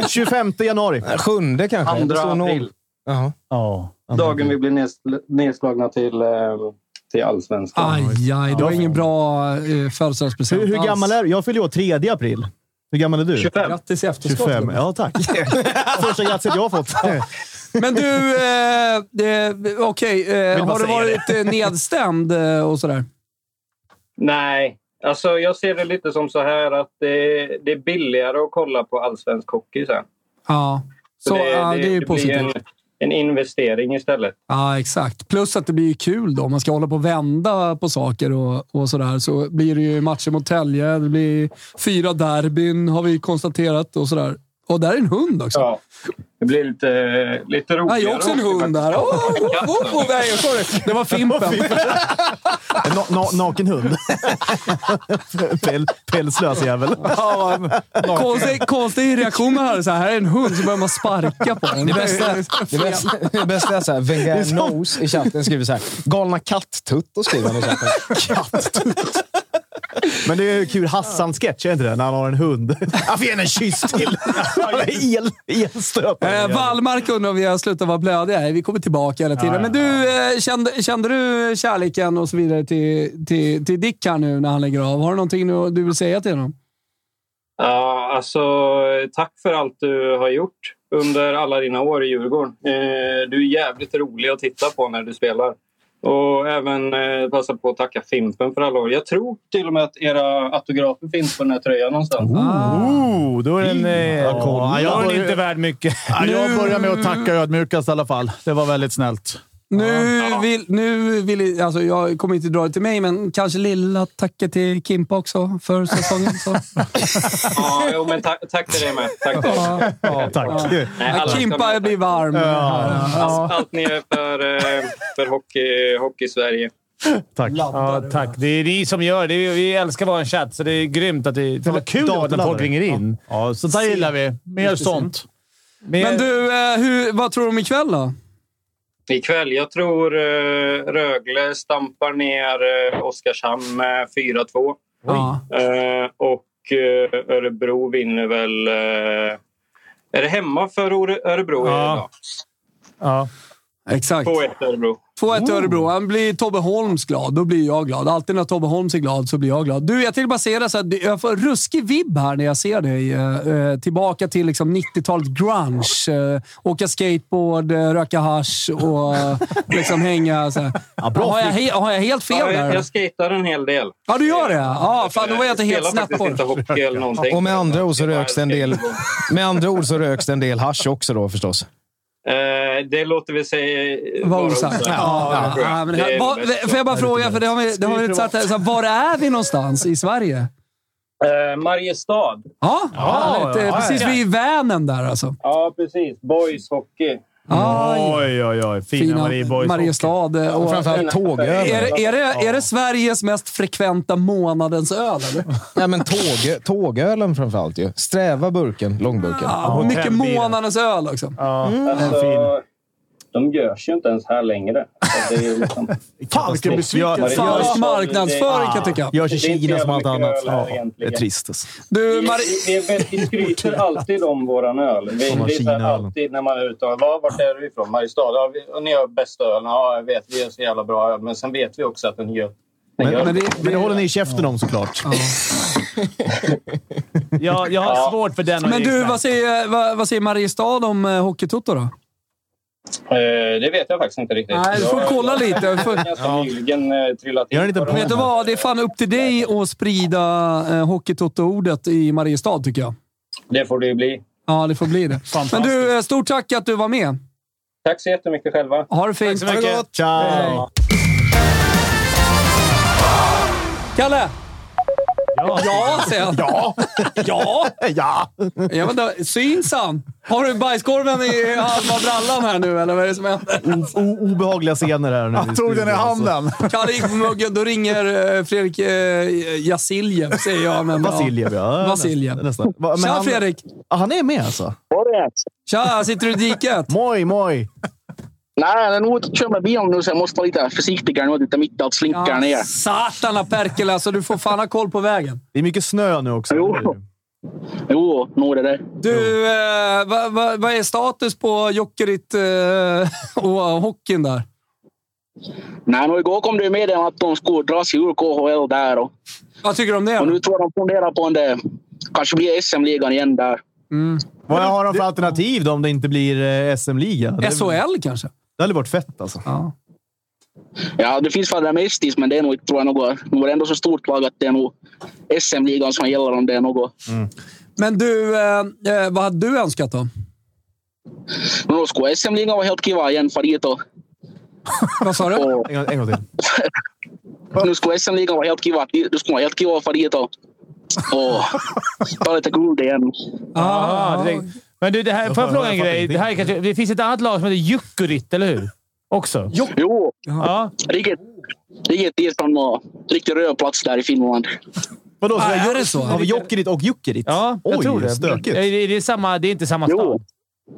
Speaker 4: 25 januari.
Speaker 5: Eh, Sjunde kanske? Det
Speaker 7: Andra
Speaker 5: står noll.
Speaker 7: april.
Speaker 5: Jaha.
Speaker 4: Ja.
Speaker 7: Dagen vi blev nedsl- nedslagna till, eh, till allsvenskan.
Speaker 1: Aj, aj. Det var ingen bra eh, födelsedagspresent
Speaker 4: Hur, hur
Speaker 1: alls.
Speaker 4: gammal är du? Jag fyller ju år 3 april. Hur gammal är du?
Speaker 7: 25.
Speaker 1: Grattis i efterskott.
Speaker 4: 25. Ja,
Speaker 1: <laughs>
Speaker 4: tack. <laughs> Första grattiset jag har fått.
Speaker 1: Men du, eh, eh, okej. eh, har du varit eh, nedstämd eh, och sådär?
Speaker 7: Nej, alltså jag ser det lite som så här att det, det är billigare att kolla på allsvensk hockey sen.
Speaker 1: Ja. Så,
Speaker 7: det,
Speaker 1: ja, det är ju
Speaker 7: det blir en,
Speaker 1: positivt.
Speaker 7: en investering istället.
Speaker 1: Ja, exakt. Plus att det blir ju kul då. Om man ska hålla på och vända på saker och, och sådär så blir det ju matcher mot Tälje. Det blir fyra derbyn har vi konstaterat och sådär. Och där är en hund också.
Speaker 7: Ja. Det blir lite, lite roligare.
Speaker 1: Nej, jag är också en hund där. Oh, oh, oh, oh, nej, sorry. Det var Fimpen.
Speaker 4: Na, na, naken hund. <laughs> Päl, pälslös jävel.
Speaker 1: Konstig, konstig reaktion man hade. Så här, här är en hund, så börjar man sparka på den.
Speaker 5: Det
Speaker 1: <laughs>
Speaker 5: bästa, det bästa, det bästa är såhär, Wenger Nose i chatten skriver såhär. Galna katttuttor skriver han i chatten.
Speaker 4: Men det är ju kul Hassan-sketch, är inte det? När han har en hund. Jag får ge henne en kyss till. El, elstöpare.
Speaker 1: Eh, Wallmark undrar om vi har slutat vara blödiga. Nej, Vi kommer tillbaka hela tiden. Men du, eh, kände, kände du kärleken och så vidare till, till, till Dick här nu när han lägger av? Har du någonting nu du vill säga till honom?
Speaker 7: Ja, alltså, tack för allt du har gjort under alla dina år i Djurgården. Eh, du är jävligt rolig att titta på när du spelar. Och även eh, passa på att tacka Fimpen för alla år. Jag tror till och med att era autografer finns på den här tröjan
Speaker 1: <laughs>
Speaker 7: någonstans.
Speaker 2: Oh, då är den, eh,
Speaker 3: kolla.
Speaker 2: ja, då är den inte värd mycket.
Speaker 3: Ja, jag börjar med att tacka ödmjukast i alla fall. Det var väldigt snällt.
Speaker 1: Nu vill... Nu vill alltså jag kommer inte dra det till mig, men kanske lilla tacket till Kimpa också för
Speaker 3: <laughs>
Speaker 1: säsongen. Så.
Speaker 7: Ja, jo, men tack, tack till dig med. Tack till dig.
Speaker 1: Ja.
Speaker 4: Ja, tack.
Speaker 7: Nej, alla ska
Speaker 1: Kimpa
Speaker 7: med.
Speaker 1: jag blir varm.
Speaker 7: Allt, allt ni är för, eh, för hockey, hockey Sverige.
Speaker 4: Tack.
Speaker 2: Ja, tack. Det är ni som gör det. Vi- Vi älskar vår chatt, så det är grymt att det... Det var kul att när folk
Speaker 4: Datorladdare.
Speaker 2: ringer in.
Speaker 3: Ja, sånt där gillar vi. Mer sånt.
Speaker 1: Men du, eh, hur, vad tror du om ikväll då?
Speaker 7: Ikväll, jag tror eh, Rögle stampar ner eh, Oskarshamn med 4-2.
Speaker 1: Ja.
Speaker 7: Eh, och eh, Örebro vinner väl... Eh, är det hemma för Ore- Örebro
Speaker 2: Ja.
Speaker 7: idag?
Speaker 2: Ja.
Speaker 1: Exakt.
Speaker 7: 2-1 Örebro.
Speaker 1: 2-1 till Örebro. Han blir Tobbe Holms glad. Då blir jag glad. Alltid när Tobbe Holms är glad så blir jag glad. Du, jag tänkte bara säga det så här, jag får ruskig vibb här när jag ser dig. Eh, eh, tillbaka till liksom 90-talet grunge. Eh, åka skateboard, eh, röka hasch och eh, liksom
Speaker 2: <laughs>
Speaker 1: hänga så här. har, jag he- har jag helt
Speaker 7: Ja,
Speaker 1: fel
Speaker 7: jag,
Speaker 1: där?
Speaker 7: jag skejtar en hel del.
Speaker 1: Ja, du gör det? Ja, fan då var jag inte helt
Speaker 7: spelar
Speaker 1: snett
Speaker 7: faktiskt
Speaker 1: på
Speaker 7: inte
Speaker 1: det.
Speaker 7: hockey eller någonting.
Speaker 5: Och med andra ord så
Speaker 7: Det är bara
Speaker 5: röks det en del,
Speaker 7: skateboard.
Speaker 5: med andra ord så röks det en del hasch också då förstås.
Speaker 7: Eh, det låter vi säga
Speaker 1: Var osagt. Ja,
Speaker 7: tror jag.
Speaker 1: ja, men det
Speaker 7: Det
Speaker 1: här-
Speaker 7: är
Speaker 1: vad-
Speaker 7: nog bäst
Speaker 1: Får jag bara fråga, för det har vi, det har vi inte sagt här. Så här, Var är vi någonstans i Sverige?
Speaker 7: så. Eh, Mariestad.
Speaker 1: Ja, härligt. Eh,
Speaker 2: ja,
Speaker 1: precis.
Speaker 2: ja.
Speaker 1: Vi är i Vänern där alltså.
Speaker 7: Ja, precis. Boys hockey.
Speaker 1: Aj.
Speaker 2: Oj, oj, oj.
Speaker 1: fina
Speaker 2: Marie Boys
Speaker 1: Mariestad. Och
Speaker 5: Framförallt tågöl.
Speaker 1: är, det- är, det, är det Sveriges mest frekventa månadens öl, eller?
Speaker 5: Nej, men tåg, tågölen framförallt ju. Sträva burken, långburken.
Speaker 1: Ja, och mycket
Speaker 2: hotellbilen.
Speaker 1: månadens öl också.
Speaker 7: Alltså, de görs ju inte ens här längre. Så det är ju liksom,
Speaker 4: <laughs> Fan, vilken besvikelse.
Speaker 1: Fan,
Speaker 7: Ja.
Speaker 1: vilken marknadsföring kan jag tycka.
Speaker 4: Görs i
Speaker 7: Det är inte
Speaker 4: Kina som allt
Speaker 7: jävla
Speaker 4: annat.
Speaker 7: mycket öl här
Speaker 4: Ja, det är
Speaker 7: egentligen.
Speaker 4: trist. Alltså.
Speaker 1: Du,
Speaker 7: vi,
Speaker 1: Mari-
Speaker 7: vi, vi, vi skryter alltid om våran öl. Vi, vi
Speaker 4: Som
Speaker 7: är så här
Speaker 4: Kina-ölen.
Speaker 7: alltid när man är ute och "Va, vart är du ifrån? Mariestad? Ja, vi, och ni har bästa ölen. Ja, jag vet. Vi gör så jävla bra öl. Men sen vet vi också att den gör... Den gör
Speaker 4: Men, det, men det håller ni i käften om såklart.
Speaker 2: Jag, jag har
Speaker 7: Ja.
Speaker 2: svårt för den att
Speaker 1: men
Speaker 2: ge
Speaker 1: du,
Speaker 2: exakt.
Speaker 1: vad säger, vad, vad säger Mariestad om eh, Hockeytoto då?
Speaker 7: Eh, det vet jag faktiskt inte riktigt.
Speaker 1: Nej, du får
Speaker 7: Jag-
Speaker 1: kolla lite. Du
Speaker 7: Jag har
Speaker 1: Får,
Speaker 7: ganska nyligen eh, trillat
Speaker 4: Gör en
Speaker 7: in
Speaker 4: liten
Speaker 7: på
Speaker 4: podd.
Speaker 7: det.
Speaker 1: vet du vad? Det är fan upp till dig att sprida eh, Hockeytoto-ordet i Mariestad, tycker jag.
Speaker 7: Det får det ju bli.
Speaker 1: Ja, det får bli det. Men du, eh, stort tack att du var med.
Speaker 7: Tack så jättemycket själva.
Speaker 1: Ha det fint.
Speaker 2: så mycket.
Speaker 4: Ciao!
Speaker 1: Kalle! Ja, säger han. Ja. ja.
Speaker 4: <laughs> Ja!
Speaker 1: Jag vet inte, syns han? Har du bajskorven i halva brallan här nu, eller vad är det som händer?
Speaker 4: O- obehagliga scener här nu. i
Speaker 3: Jag tog den i
Speaker 4: studion, alltså.
Speaker 3: handen.
Speaker 1: Kalle gick på muggen. Då ringer eh, Fredrik eh, Jasiljev, säger jag. Men, ja.
Speaker 4: Vasiljev, ja.
Speaker 1: Vasiljev.
Speaker 4: Nästan, nästan. Va- men
Speaker 1: Tja,
Speaker 4: han-
Speaker 1: Fredrik!
Speaker 4: Ja, han är med alltså?
Speaker 1: Tja, sitter du i diket?
Speaker 4: Moj, moj!
Speaker 8: Nej, den åt, kör med bilen nu så jag måste vara lite försiktigare nu. Lite mitt att slinka
Speaker 1: Ja,
Speaker 8: ner.
Speaker 1: satana Perkele, alltså du får fan ha koll på vägen.
Speaker 4: Det är mycket snö nu också.
Speaker 8: Jo. Jo, nog är det det.
Speaker 1: Du, eh, vad va, vad är status på Jokerit eh, <laughs> och hockeyn där?
Speaker 8: Nej, men igår kom det ju meddelande att de skulle dra sig ur KHL där. Och,
Speaker 1: Vad tycker du om
Speaker 8: och
Speaker 1: det?
Speaker 8: nu tror jag de funderar på om det kanske blir SM-ligan igen där.
Speaker 1: Mm.
Speaker 4: Vad har de för alternativ då om det inte blir eh, SM-liga? Det,
Speaker 1: SHL kanske?
Speaker 4: det hade varit fett alltså.
Speaker 1: Ja.
Speaker 8: Ja, det finns väl mestis, men det är nog inte tror jag något. Nu var det ändå så stort lag att det är nog SM-ligan som gäller om det är något.
Speaker 4: Mm.
Speaker 1: Men du, eh, eh, vad hade du önskat då?
Speaker 8: Men då skulle SM-ligan vara helt kiva igen, för dit och,
Speaker 4: <laughs>
Speaker 1: Vad sa du?
Speaker 8: och
Speaker 4: En gång, en gång till.
Speaker 8: nu skulle SM-ligan vara helt kiva. Du skulle vara helt kiva för dit och, och ta lite guld igen.
Speaker 2: Ah, direkt. Men du, det här, får jag
Speaker 4: Jag
Speaker 2: fråga en
Speaker 4: fattar
Speaker 2: grej?
Speaker 4: ingenting.
Speaker 2: Det, här är kanske, det finns ett annat lag som heter Jukurit, eller hur? Också.
Speaker 8: Jo,
Speaker 2: Ja.
Speaker 8: riktigt, riktigt Island var riktig röd plats där i Finland.
Speaker 4: Vadå,
Speaker 1: Ah,
Speaker 4: så
Speaker 1: är det så?
Speaker 4: Har vi Jokerit och Jukerit?
Speaker 2: Ja, jag
Speaker 4: Oj,
Speaker 2: tror det.
Speaker 4: stökigt.
Speaker 2: Är det, är det, samma, det är inte samma
Speaker 8: Jo.
Speaker 2: stad?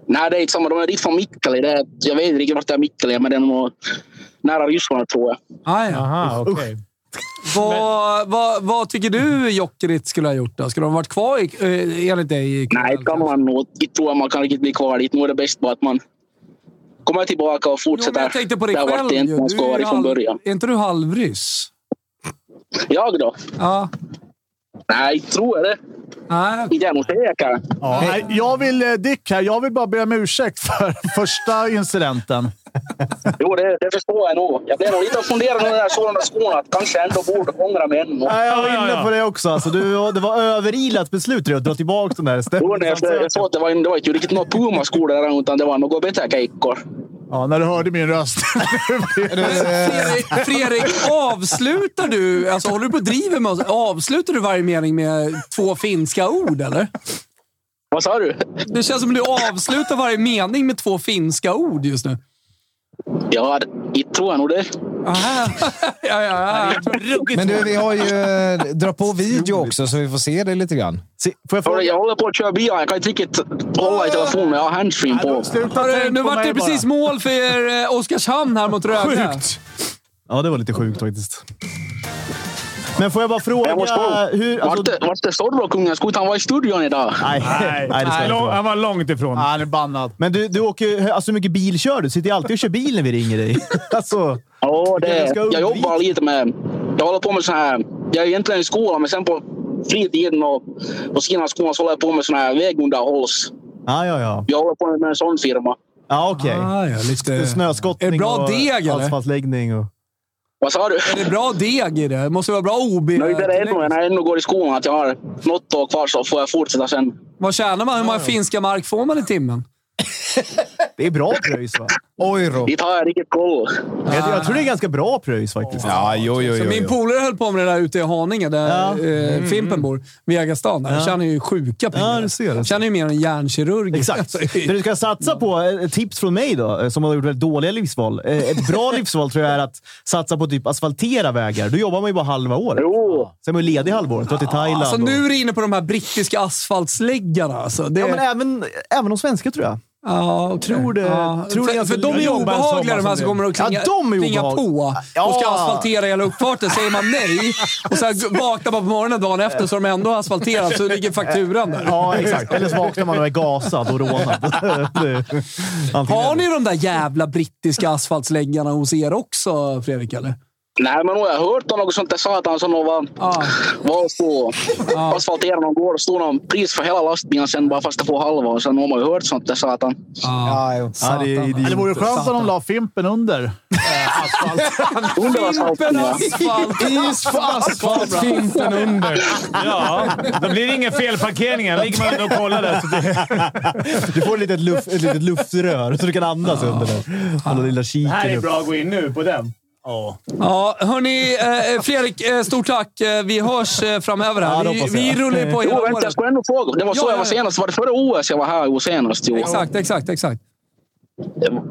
Speaker 8: Nej, det är inte samma. De är dit från Mikkeli. Det är, jag vet inte riktigt vart det är Mikkeli, men det är nog nära Ryssland tror jag.
Speaker 1: Ah, ja.
Speaker 2: Aha, okej.
Speaker 1: vad, vad, vad tycker du Jokerit skulle ha gjort då? Skulle de ha varit kvar i, eh, enligt dig? i KHL?
Speaker 8: Nej, kan man nog. Jag tror att man kan riktigt bli kvar dit. Nu är det bäst bara att man kommer tillbaka och
Speaker 1: Jo, men
Speaker 8: fortsätter
Speaker 1: jag tänkte på dig
Speaker 8: där
Speaker 1: själv.
Speaker 8: vart det
Speaker 1: ju.
Speaker 8: inte man ska
Speaker 1: Du är
Speaker 8: vara
Speaker 1: ju
Speaker 8: från
Speaker 1: halv-
Speaker 8: början.
Speaker 1: Är inte du halvryss?
Speaker 8: Jag då?
Speaker 1: Ja.
Speaker 8: Nej, tror jag det.
Speaker 1: Nej,
Speaker 8: Inte jag nog säker.
Speaker 3: Ja, nej, jag vill, eh, Dick här, jag vill bara be om ursäkt för <laughs> första incidenten.
Speaker 8: Jo, det, det förstår jag nog. Jag blev nog lite funderande när jag såg de där skorna. Att kanske jag ändå borde ångra mig ännu.
Speaker 4: Nej, jag var
Speaker 2: Ja, ja,
Speaker 4: inne
Speaker 2: ja.
Speaker 4: på det också. Alltså, du, det var överilat beslut det, att dra tillbaka den där
Speaker 8: Jo, när jag, jag såg att det var, det var inte riktigt några Puma-skor där, utan det var några bättre keikkor.
Speaker 3: Ja, när du hörde min röst. <laughs>
Speaker 8: <laughs>
Speaker 1: Fredrik, Fredrik, avslutar du, alltså håller du på och driver med oss? Avslutar du varje mening med två finska ord eller?
Speaker 8: Vad sa du?
Speaker 1: Det känns som att du avslutar varje mening med två finska ord just nu.
Speaker 8: Ja, det- jag tror nog det.
Speaker 1: Aha. Ah, <laughs> Ja, ja, ja.
Speaker 5: Men du, vi har ju... eh, Dra på video också så vi får se det lite grann.
Speaker 4: Se, får jag
Speaker 8: Hörru,
Speaker 4: fråga?
Speaker 8: Jag håller på att köra bilen. Jag kan inte riktigt hålla i telefonen. Jag har handsfree på.
Speaker 3: Sluta
Speaker 1: Hörru,
Speaker 3: tänk
Speaker 1: Nu
Speaker 3: på
Speaker 1: vart
Speaker 3: mig
Speaker 1: det precis mål för er, eh, Oskarshamn här mot Rögle.
Speaker 4: Sjukt! Ja, det var lite sjukt faktiskt. Men får jag bara fråga...
Speaker 8: Jag måste gå.
Speaker 4: hur,
Speaker 8: Vart
Speaker 4: alltså,
Speaker 8: det- Vart är Zorro-kungen? Skulle inte han vara i studion idag?
Speaker 4: nej, nej,
Speaker 2: Nej,
Speaker 4: det ska jag inte
Speaker 2: lång,
Speaker 4: vara.
Speaker 2: han var långt ifrån.
Speaker 3: bara. Han är bannad.
Speaker 4: Men du, du åker ju- alltså, hur mycket bil kör du? Sitter ju alltid och kör bil när vi ringer dig. <laughs> Alltså,
Speaker 8: Ja,
Speaker 4: Jag
Speaker 8: det,
Speaker 4: ska
Speaker 8: jag jobbar
Speaker 4: undvika.
Speaker 8: lite med... Jag håller på med sån här... Jag är egentligen i skolan, men sen på fritiden och på sidan av skolan så håller jag på med sån här vägunderhålls...
Speaker 4: ja, ja, ja.
Speaker 8: Jag håller på med en sån firma.
Speaker 4: Ja, okej.
Speaker 1: Ah, ja, lite...
Speaker 4: Snöskottning
Speaker 1: Är det bra
Speaker 4: och
Speaker 1: deg, eller?
Speaker 4: asfaltläggning. Och...
Speaker 8: Vad sa du?
Speaker 1: Är det bra deg i det? Det måste vara bra OB.
Speaker 8: Nöjd är det ännu, när jag ännu går i skolan. Att jag har något år kvar så får jag fortsätta sen.
Speaker 1: Vad tjänar man? Hur många finska mark får man i timmen?
Speaker 4: Det är bra pröjs, va?
Speaker 5: Oj, Rob.
Speaker 8: Dit har jag riktigt koll.
Speaker 4: Jag, jag tror det är ganska bra pröjs faktiskt.
Speaker 5: Ja, jo, jo,
Speaker 1: Så
Speaker 5: jo.
Speaker 1: min
Speaker 5: jo.
Speaker 1: polare höll på med det där ute i Haninge, där
Speaker 4: Ja. Mm.
Speaker 1: eh, Fimpen bor. Vegastan. Där. Han tjänar ju sjuka pengar.
Speaker 4: Ja, du ser det.
Speaker 1: Han tjänar ju mer än hjärnkirurg. <laughs>
Speaker 4: Exakt. Det du ska satsa på, eh, tips från mig då, eh, som har gjort väldigt dåliga livsval. Eh, Ett
Speaker 1: <laughs>
Speaker 4: bra livsval tror jag är att satsa på typ asfaltera vägar. Då jobbar man ju bara halva året.
Speaker 8: Jo.
Speaker 4: Sen är man ju ledig halva året. Dra till Thailand.
Speaker 1: Alltså,
Speaker 4: och-
Speaker 1: nu är du inne på de här brittiska asfaltsläggarna. Alltså. Det,
Speaker 4: Ja, men även, även de svenska tror jag.
Speaker 1: Ja, okej.
Speaker 4: tror det-
Speaker 1: Ja,
Speaker 4: tror
Speaker 1: för,
Speaker 4: det-
Speaker 1: för de är ju
Speaker 4: jag jobbar en
Speaker 1: obehagliga de
Speaker 4: sommar
Speaker 1: här som
Speaker 4: som
Speaker 1: kommer
Speaker 4: det.
Speaker 1: och klinga,
Speaker 4: Ja, de är
Speaker 1: klinga på
Speaker 4: obehagliga.
Speaker 1: och ska
Speaker 4: Ja.
Speaker 1: asfaltera hela uppfarten. Säger man nej och sen vaknar man på morgonen dagen efter så har de ändå asfalterat så ligger fakturan där.
Speaker 4: Ja, exakt. Eller så vaknar man och är gasad och rånad. Det-
Speaker 1: <laughs>
Speaker 4: antingen
Speaker 1: Har
Speaker 4: eller.
Speaker 1: ni de där jävla brittiska asfaltsläggarna hos er också, Fredrik? Eller?
Speaker 8: Nej, men nog har jag hört om något sånt där satan som nog var...
Speaker 1: Ja.
Speaker 8: var på asfalterade någon gård och stod någon pris för hela lastbilen sen bara fast det får halva och sen har man ju hört sånt där satan.
Speaker 5: Ja, jo.
Speaker 4: Ja, det är
Speaker 3: Det
Speaker 4: idiot.
Speaker 3: vore skönt om de la Fimpen under.
Speaker 8: Under asfalten ja.
Speaker 1: Is för asfalt.
Speaker 2: Fimpen under. Ja, då blir det inga felparkeringar. ligger man ändå och kollar där. Så det,
Speaker 4: Du får ett litet, luft, ett litet luftrör så du kan andas under det. Alla lilla kiken upp.
Speaker 2: bra att gå in nu på den.
Speaker 1: Ja, hörni. Eh, Fredrik, eh, stort tack. Eh, Vi hörs eh, framöver.
Speaker 4: Ja,
Speaker 1: Här.
Speaker 4: det
Speaker 1: vi,
Speaker 4: hoppas jag.
Speaker 1: vi rullar ju på hela
Speaker 8: Jo, vänta, jag
Speaker 1: året.
Speaker 8: skulle ändå fråga. Det var så
Speaker 1: Ja,
Speaker 8: jag var
Speaker 1: ja, ja.
Speaker 8: senast. Var det före OS jag var här jo, senast? Jo.
Speaker 1: Exakt, exakt, exakt.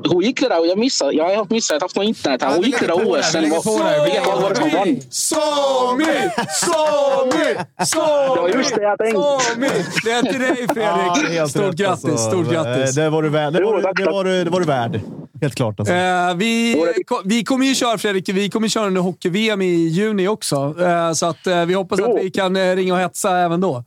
Speaker 8: Hon gick det där och jag missade. Jag har haft missat. Jag har haft något internet här. Hon gick det där OS. Sen var, vilket lag var det som vann?
Speaker 1: Sami! Sami!
Speaker 8: Det var
Speaker 1: Sami!
Speaker 8: just det jag tänkte.
Speaker 1: Sami! Det är till dig, Fredrik.
Speaker 4: helt
Speaker 1: stort
Speaker 4: rätt,
Speaker 1: grattis,
Speaker 4: alltså.
Speaker 1: stort grattis.
Speaker 4: Eh, Det var du värd. Det var,
Speaker 8: Jo,
Speaker 4: du-
Speaker 8: tack,
Speaker 4: det var, du- det var du värd. Helt klart. Alltså.
Speaker 1: Eh, vi, ko- vi kommer ju köra, Fredrik, vi kommer köra under hockey-VM i juni också. Eh, så att, eh, vi hoppas att
Speaker 8: Jo.
Speaker 1: vi kan eh, ringa och hetsa även då.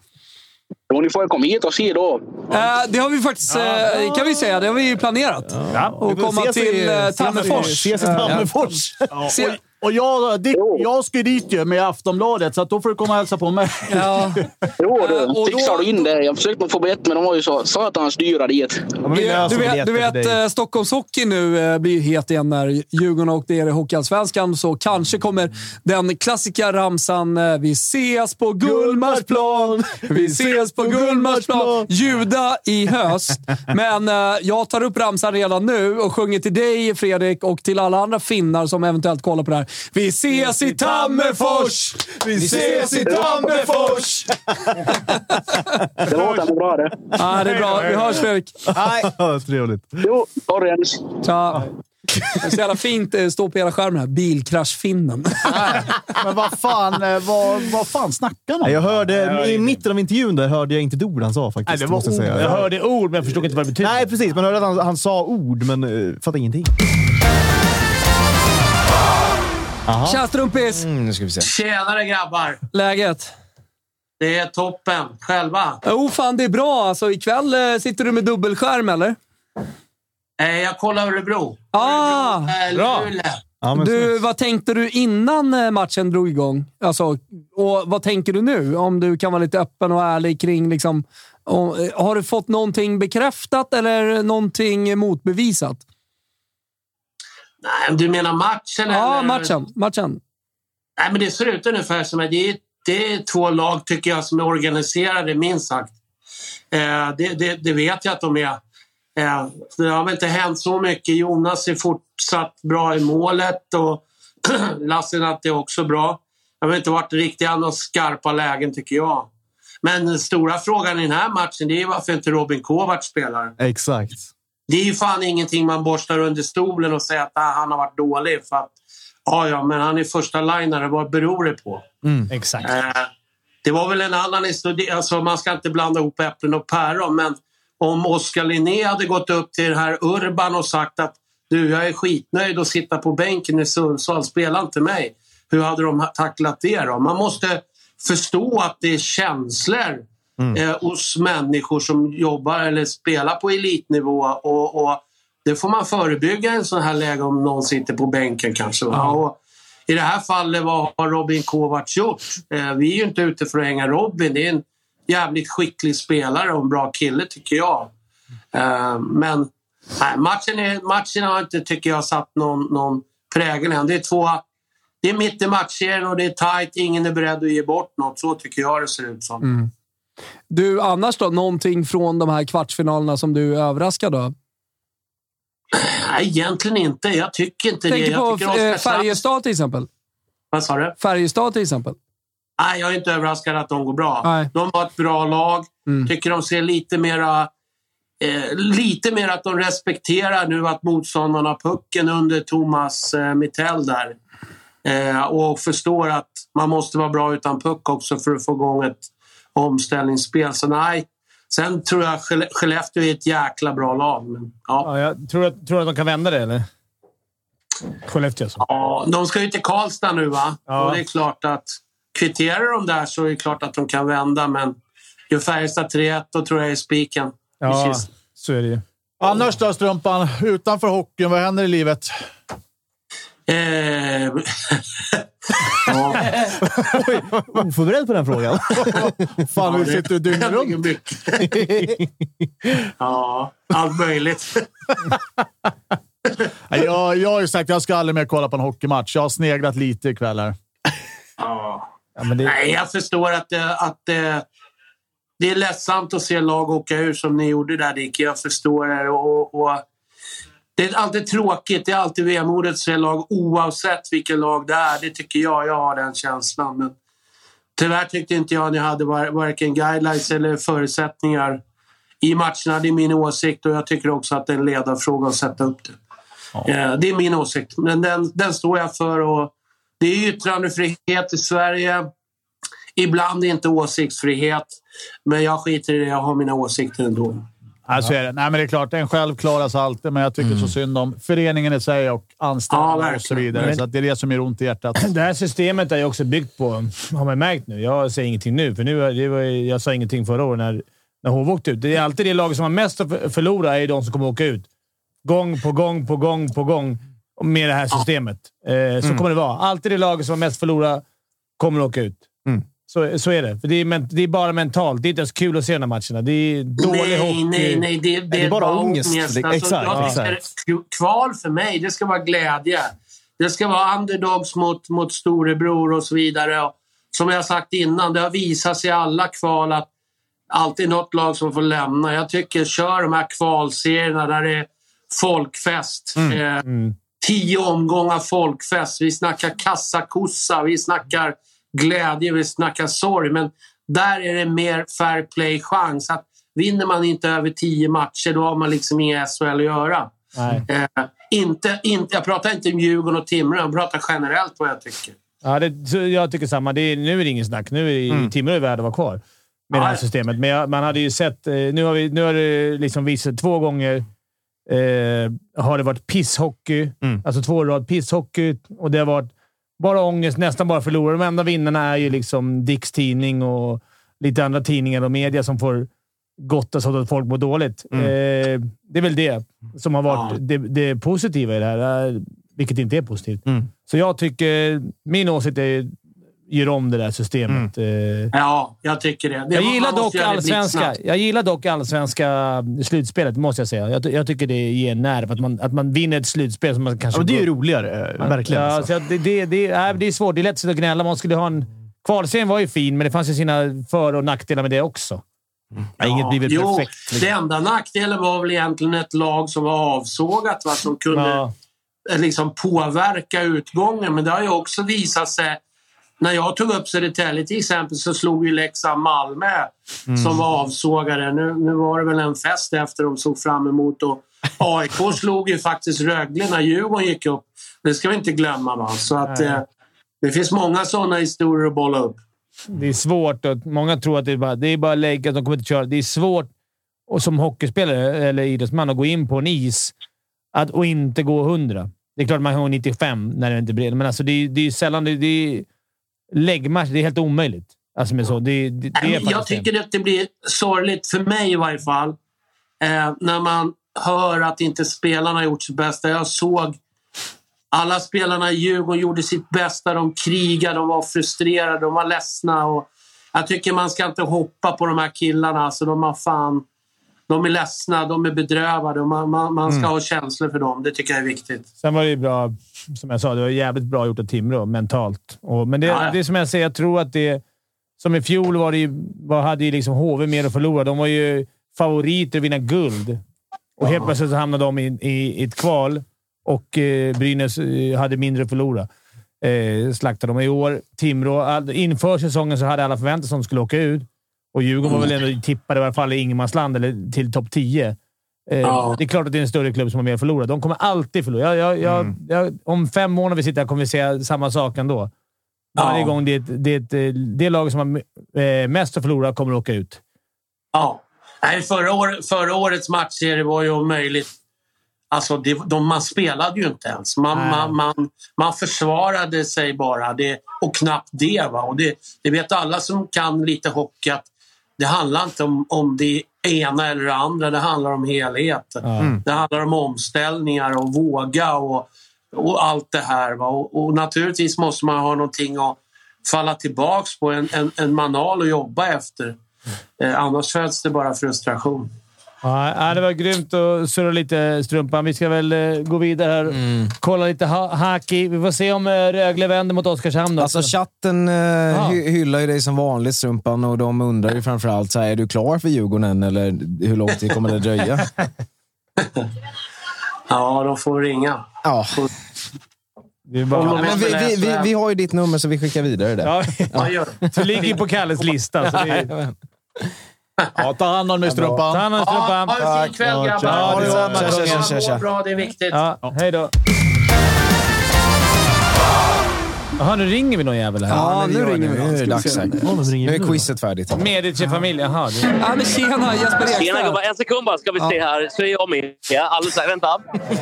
Speaker 8: Jo, ni får komma hit och se då.
Speaker 1: Eh, det har vi faktiskt, eh, kan vi säga, det har vi ju planerat. Och komma
Speaker 4: ses i-
Speaker 1: till eh,
Speaker 4: ses i-
Speaker 1: Tammerfors.
Speaker 4: Ses i Tammerfors.
Speaker 1: Se-
Speaker 3: Och jag, det, jag ska ju dit ju med Aftonbladet, så att då får du komma och hälsa på mig.
Speaker 1: Ja.
Speaker 3: <laughs>
Speaker 8: Jo,
Speaker 1: Eh, och då-
Speaker 8: du. Fixar du in det? Jag försökte få biljett, men de var ju så satans dyra dit.
Speaker 4: Ja, men vi
Speaker 1: Du,
Speaker 8: alltså
Speaker 4: löser
Speaker 1: du vet,
Speaker 4: biljetter
Speaker 1: du
Speaker 4: för
Speaker 1: vet
Speaker 4: dig.
Speaker 1: eh, Stockholmshockey nu eh, blir ju het igen när Djurgården har åkt ner i Hockeyallsvenskan, så kanske kommer den klassiska ramsan eh, “Vi ses på Gullmarsplan, vi ses på Gullmarsplan” ljuda i höst. Men eh, jag tar upp ramsan redan nu och sjunger till dig, Fredrik, och till alla andra finnar som eventuellt kollar på det här. “Vi ses i Tammerfors! Vi ses i Tammerfors!”
Speaker 8: Det låter nog bra det.
Speaker 1: ah, Det är bra. Vi hörs, Fredrik.
Speaker 4: Ja, Trevligt.
Speaker 8: Jo, Orrens.
Speaker 1: Ja. Det är så jävla fint eh, stå på hela skärmen här. Bilkraschfinnen. <laughs>
Speaker 3: Men vad fan, eh, vad, vad fan snackar han
Speaker 4: Nej,
Speaker 3: om?
Speaker 4: Jag hörde, I mitten av intervjun där hörde jag inte ett ord han sa faktiskt.
Speaker 3: Nej, det var
Speaker 4: måste jag
Speaker 3: ord.
Speaker 4: säga.
Speaker 2: Jag hörde ord, men jag förstod inte vad det betydde.
Speaker 4: Nej, precis. Man hörde att han, han sa ord, men uh, fattade ingenting.
Speaker 1: Tja strumpis!
Speaker 5: Mm, nu ska vi se.
Speaker 9: Tjenare grabbar!
Speaker 1: Läget?
Speaker 9: Det är toppen. Själva?
Speaker 1: Jo, Oh, fan det är bra. Alltså, ikväll eh, sitter du med dubbelskärm, eller?
Speaker 9: Eh, jag kollar Örebro.
Speaker 1: Ah!
Speaker 9: Eh,
Speaker 2: Bra.
Speaker 9: Luleå.
Speaker 4: Ja, men
Speaker 1: Du,
Speaker 4: snyggt.
Speaker 1: vad tänkte du innan eh, matchen drog igång? Alltså, och vad tänker du nu? Om du kan vara lite öppen och ärlig kring... Liksom, om, eh, har du fått någonting bekräftat eller någonting motbevisat?
Speaker 9: Nej, du menar matchen?
Speaker 1: Ja,
Speaker 9: eller?
Speaker 1: matchen. matchen.
Speaker 9: Nej, men det ser ut ungefär som att det är, det är två lag tycker jag som är organiserade, minst sagt. Eh, det, det, det vet jag att de är. Eh, det har väl inte hänt så mycket. Jonas är fortsatt bra i målet och <clears throat> Lassinantti är också bra. Det har inte varit riktigt några skarpa lägen tycker jag. Men den stora frågan i den här matchen det är varför inte Robin Kovacs spelar.
Speaker 4: Exakt.
Speaker 9: Det är ju fan ingenting man borstar under stolen och säger att ah, han har varit dålig. För att, ja, ja, men han är första linare. Vad beror det på?
Speaker 2: Mm. Exakt.
Speaker 9: Eh, det var väl en annan historia. Alltså, man ska inte blanda ihop äpplen och päron. Men om Oskar Linné hade gått upp till den här Urban och sagt att du, jag är skitnöjd att sitta på bänken i Sundsvall. Spela inte mig. Hur hade de tacklat det då? Man måste förstå att det är känslor
Speaker 10: Mm.
Speaker 9: eh, hos människor som jobbar eller spelar på elitnivå. Och, och det får man förebygga i en sån här läge om någon sitter på bänken kanske. Va? Och I det här fallet, vad har Robin Kovacs gjort? Eh, vi är ju inte ute för att hänga Robin. Det är en jävligt skicklig spelare och en bra kille tycker jag. Eh, men nej, matchen, är, matchen har inte, tycker jag, satt någon, någon prägel än. Det är två... Det är mitt i matchserien och det är tajt. Ingen är beredd att ge bort något. Så tycker jag det ser ut som.
Speaker 1: Mm. Du, annars då? Någonting från de här kvartsfinalerna som du är överraskad av?
Speaker 9: Nej, egentligen inte. Jag tycker inte det.
Speaker 1: Tänker
Speaker 9: Jag
Speaker 1: på
Speaker 9: tycker
Speaker 1: eh,
Speaker 9: Oskarshamn-
Speaker 1: Färjestad till exempel.
Speaker 9: Vad sa du?
Speaker 1: Färjestad till exempel.
Speaker 9: Nej, jag är inte överraskad att de går bra.
Speaker 1: Nej.
Speaker 9: De har ett bra lag.
Speaker 1: Mm.
Speaker 9: Tycker de ser lite mera... Eh, lite mer att de respekterar nu att motståndarna har pucken under Thomas eh, Mittell där. Eh, och förstår att man måste vara bra utan puck också för att få igång ett omställningsspel. Så nej. Sen tror jag Skelle- Skellefteå är ett jäkla bra lag. Men, ja.
Speaker 2: Ja, jag tror, att, tror du att de kan vända det, eller? Skellefteå alltså.
Speaker 9: Ja, de ska ju till Karlstad nu va?
Speaker 2: Ja.
Speaker 9: Och det är klart att kvitterar de där så är det klart att de kan vända. Men gör Färjestad 3-1 då tror jag är spiken.
Speaker 2: Ja,
Speaker 9: Precis.
Speaker 2: så är det ju.
Speaker 3: Annars då, Strumpan? Utanför hockeyn, vad händer i livet?
Speaker 2: <laughs>
Speaker 9: Eh,
Speaker 3: <laughs>
Speaker 4: Oförberedd på den frågan.
Speaker 2: <laughs>
Speaker 3: Fan, vi sitter dygnet
Speaker 9: det
Speaker 3: runt.
Speaker 9: är mycket.
Speaker 4: <laughs>
Speaker 9: ja, allt möjligt.
Speaker 3: Nej, Jag, jag har ju sagt att jag ska aldrig mer kolla på en hockeymatch. Jag har sneglat lite ikväll här.
Speaker 9: Ja.
Speaker 2: Ja, men det,
Speaker 9: Nej, jag förstår att, det- att det- det är ledsamt att se lag åka ur som ni gjorde där Dicke. Jag förstår det. Och, och, det är alltid tråkigt. Det är alltid vemodigt att se lag oavsett vilket lag det är. Det tycker jag. Jag har den känslan. Men tyvärr tyckte inte jag ni hade var, varken guidelines eller förutsättningar i matcherna. Det är min åsikt och jag tycker också att det är en ledarfråga att sätta upp det. Eh, Det är min åsikt, men den, den står jag för. Och det är yttrandefrihet i Sverige. Ibland inte åsiktsfrihet, men jag skiter i det. Jag har mina åsikter ändå.
Speaker 3: Nej, så är det. Nej, men det är klart, en själv klarar sig alltid, men jag tycker
Speaker 2: Mm.
Speaker 3: så synd om föreningen i sig och
Speaker 9: Ja,
Speaker 3: anställda
Speaker 9: verkligen.
Speaker 3: och så vidare.
Speaker 2: Men-
Speaker 3: så att det är det som gör ont i hjärtat.
Speaker 2: <clears throat> Det här systemet är ju också byggt på, har man märkt nu. Jag säger ingenting nu, för nu, är- det var, ju- jag sa ingenting förra året när, när HV åkte ut. Det är alltid det laget som har mest att för- förlora är ju de som kommer åka ut. Gång på gång på gång på gång med det här systemet. Eh,
Speaker 9: Mm.
Speaker 2: så kommer det vara. Alltid det laget som har mest förlora kommer att åka ut.
Speaker 9: Mm.
Speaker 2: Så, så är det. För det, är, men- det är bara mentalt. Det är inte ens kul att se de här matcherna. Det är dålig
Speaker 9: Nej,
Speaker 2: hockey.
Speaker 9: nej, nej. Det, det,
Speaker 4: det
Speaker 9: är
Speaker 4: bara
Speaker 9: bara
Speaker 4: ångest?
Speaker 9: ångest.
Speaker 4: Det-
Speaker 9: Alltså,
Speaker 4: exakt,
Speaker 9: jag
Speaker 4: exakt.
Speaker 9: tycker Kval för mig, det ska vara glädje. Det ska vara underdogs mot, mot storebror och så vidare. Och som jag sagt innan, det har visat sig i alla kval att alltid något lag som får lämna. Jag tycker kör de här kvalserierna där det är folkfest.
Speaker 11: Mm.
Speaker 9: Eh, Tio omgångar folkfest. Vi snackar kassakossa, vi snackar glädje, vi snackar sorg. Men där är det mer fair play-chans. Att vinner man inte över tio matcher, då har man liksom inga SHL att göra.
Speaker 2: Nej.
Speaker 9: Eh, inte, inte, jag pratar inte om Djurgården och Timrå, jag pratar generellt vad jag tycker.
Speaker 2: Ja, det, så jag tycker samma. Det är, nu är det ingen snack. Nu är det, Timrå är värd att vara kvar med det här
Speaker 9: Ja.
Speaker 2: systemet. Men jag, man hade ju sett... eh, Nu har, vi, nu har det liksom visat två gånger eh, har det varit pisshockey. Alltså två i rad pisshockey och det har varit bara ångest, nästan bara förlorare. De enda vinnarna är ju liksom Dicks tidning och lite andra tidningar och media som får gotta sig åt att folk mår dåligt. Eh, det är väl det som har varit
Speaker 9: Ja.
Speaker 2: det, det positiva i det här, eh, vilket inte är positivt. Så jag tycker... Min åsikt är gör om det där systemet. Eh,
Speaker 9: Ja, jag tycker det. det
Speaker 2: Jag
Speaker 9: man
Speaker 2: gillar,
Speaker 9: måste
Speaker 2: dock
Speaker 9: göra det
Speaker 2: allsvenska,
Speaker 9: blixtsnabbt.
Speaker 2: jag gillar dock allsvenska slutspelet, måste jag säga. Jag, ty- jag tycker det ger nerv att man, att man vinner ett slutspel som man kanske...
Speaker 4: Ja, men det är ju
Speaker 2: går-
Speaker 4: roligare. eh, Verkligen.
Speaker 2: Ja,
Speaker 4: alltså.
Speaker 2: så att det, det, det, är, det är svårt. Det är lätt att sitta och gnälla. Man skulle ha en... Kvalserien var ju fin, men det fanns ju sina för och nackdelar med det också.
Speaker 4: Ja, Inget blir väl
Speaker 9: Mm. jo,
Speaker 4: perfekt. liksom.
Speaker 2: liksom.
Speaker 9: Det enda nackdelen var väl egentligen ett lag som var avsågat, va, som kunde
Speaker 2: Ja.
Speaker 9: eh, liksom påverka utgången. Men det har ju också visat sig... När jag tog upp Södertälje till exempel så slog ju Leksand Malmö
Speaker 2: Mm.
Speaker 4: Mm.
Speaker 9: som var avsågare. Nu, nu var det väl en fest efter de såg fram emot. Och AIK slog ju faktiskt Rögle när Djurgården gick upp. Det ska vi inte glömma. Va? Så att, eh, det finns många sådana historier att bolla upp.
Speaker 2: Det är svårt. Och många tror att det är bara, det är bara att lägga, de kommer inte köra. Det är svårt och som hockeyspelare eller idrottsman att gå in på en is att, och inte gå 100. Det är klart man kan gå 95 när det inte blir men alltså det, är- det är sällan... Det, det är läggmatch. Det är helt omöjligt. Alltså med så. Det, det, det är
Speaker 9: Nej, men jag
Speaker 2: faktiskt det.
Speaker 9: tycker att det blir sorgligt, för mig i varje fall, eh, när man hör att inte spelarna har gjort sitt bästa. Jag såg alla spelarna i Djurgården gjorde sitt bästa. De krigade, de var frustrerade, de var ledsna. Och jag tycker man ska inte hoppa på de här killarna. Alltså, de, har fan, de är ledsna, de är bedrövade. Och man, man, man ska
Speaker 2: Mm.
Speaker 9: ha känslor för dem. Det tycker jag är viktigt.
Speaker 2: Sen var det ju bra, som jag sa, det var jävligt bra gjort av Timrå mentalt. Och, men det,
Speaker 9: Ja, ja.
Speaker 2: det är som jag säger, jag tror att det... Som i fjol var det ju, var, hade ju liksom HV mer att förlora. De var ju favoriter att vinna guld. Och helt plötsligt så hamnade de i, i, i ett kval och eh, Brynäs eh, hade mindre att förlora. Eh, slaktade de i år. Timrå. All, inför säsongen så hade alla förväntat sig att de skulle åka ut. Och Djurgården var
Speaker 9: Mm.
Speaker 2: väl ändå tippade i alla fall i ingenmansland, eller till topp 10. Eh,
Speaker 9: Ja.
Speaker 2: Det är klart att det är en större klubb som har mer att förlora. De kommer alltid förlora. Jag, jag, jag,
Speaker 9: Mm.
Speaker 2: jag, om fem månader vi sitter här kommer vi säga samma sak ändå.
Speaker 9: Ja.
Speaker 2: Varje gång det, är ett- det, är ett, eh, det lag som har eh, mest att förlora kommer att åka ut.
Speaker 9: Ja. Nej, förra, år, förra årets matchserie var ju omöjligt. Alltså, det, de, man spelade ju inte ens. Man,
Speaker 2: Nej.
Speaker 9: man, man, man försvarade sig bara det, och knappt det. Va? Och det. Det vet alla som kan lite hockey att det handlar inte om, om det ena eller det andra. Det handlar om helhet. Det handlar om omställningar och våga och, och allt det här. Va? Och, och naturligtvis måste man ha någonting att falla tillbaks på, en, en, en manal att jobba efter.
Speaker 5: Mm.
Speaker 9: Eh, annars föds det bara frustration.
Speaker 2: Ja, ja, det var grymt att surra lite, Strumpan. Vi ska väl eh, gå vidare här. Kolla lite ha hockey. Vi får se om eh, Rögle vänder mot Oskarshamn också.
Speaker 5: Alltså chatten eh, hy- hyllar ju dig som vanligt Strumpan och de undrar ju framförallt så här, är du klar för Djurgården än eller hur lång tid kommer det dröja?
Speaker 9: <laughs> Ja, de får ringa.
Speaker 5: ja.
Speaker 2: det är bara...
Speaker 9: Om
Speaker 5: Ja,
Speaker 9: de
Speaker 5: men vi, vi, vi, vi har ju ditt nummer så vi skickar vidare det.
Speaker 2: ja,
Speaker 9: Ja, gör det.
Speaker 3: <laughs>
Speaker 2: du ligger ju på Kalles lista. Så det är...
Speaker 3: Ja, ta hand om dig,
Speaker 2: Ta
Speaker 3: strumpan.
Speaker 2: hand om
Speaker 9: Ja,
Speaker 2: strumpan.
Speaker 9: ha en fin kväll
Speaker 5: Tack.
Speaker 9: grabbar.
Speaker 5: Ja,
Speaker 9: Ha det bra.
Speaker 5: detsamma. Tja, tja, tja, tja.
Speaker 9: Må bra, det är viktigt.
Speaker 2: Ja, hej då. Jaha, nu ringer vi någon jävel här.
Speaker 1: Ja, nu
Speaker 5: gör
Speaker 1: ringer vi.
Speaker 5: Nu är det
Speaker 1: Ska vi
Speaker 5: dags
Speaker 1: se.
Speaker 5: säkert. Nu är quizet färdigt.
Speaker 2: Medici-familj. Jaha. det-
Speaker 1: Ja, men tjena, Jesper
Speaker 11: Tjena gubbar,
Speaker 1: Ekstedt.
Speaker 11: en sekund bara ska vi se här så är jag med. Ja, alldeles, här. vänta.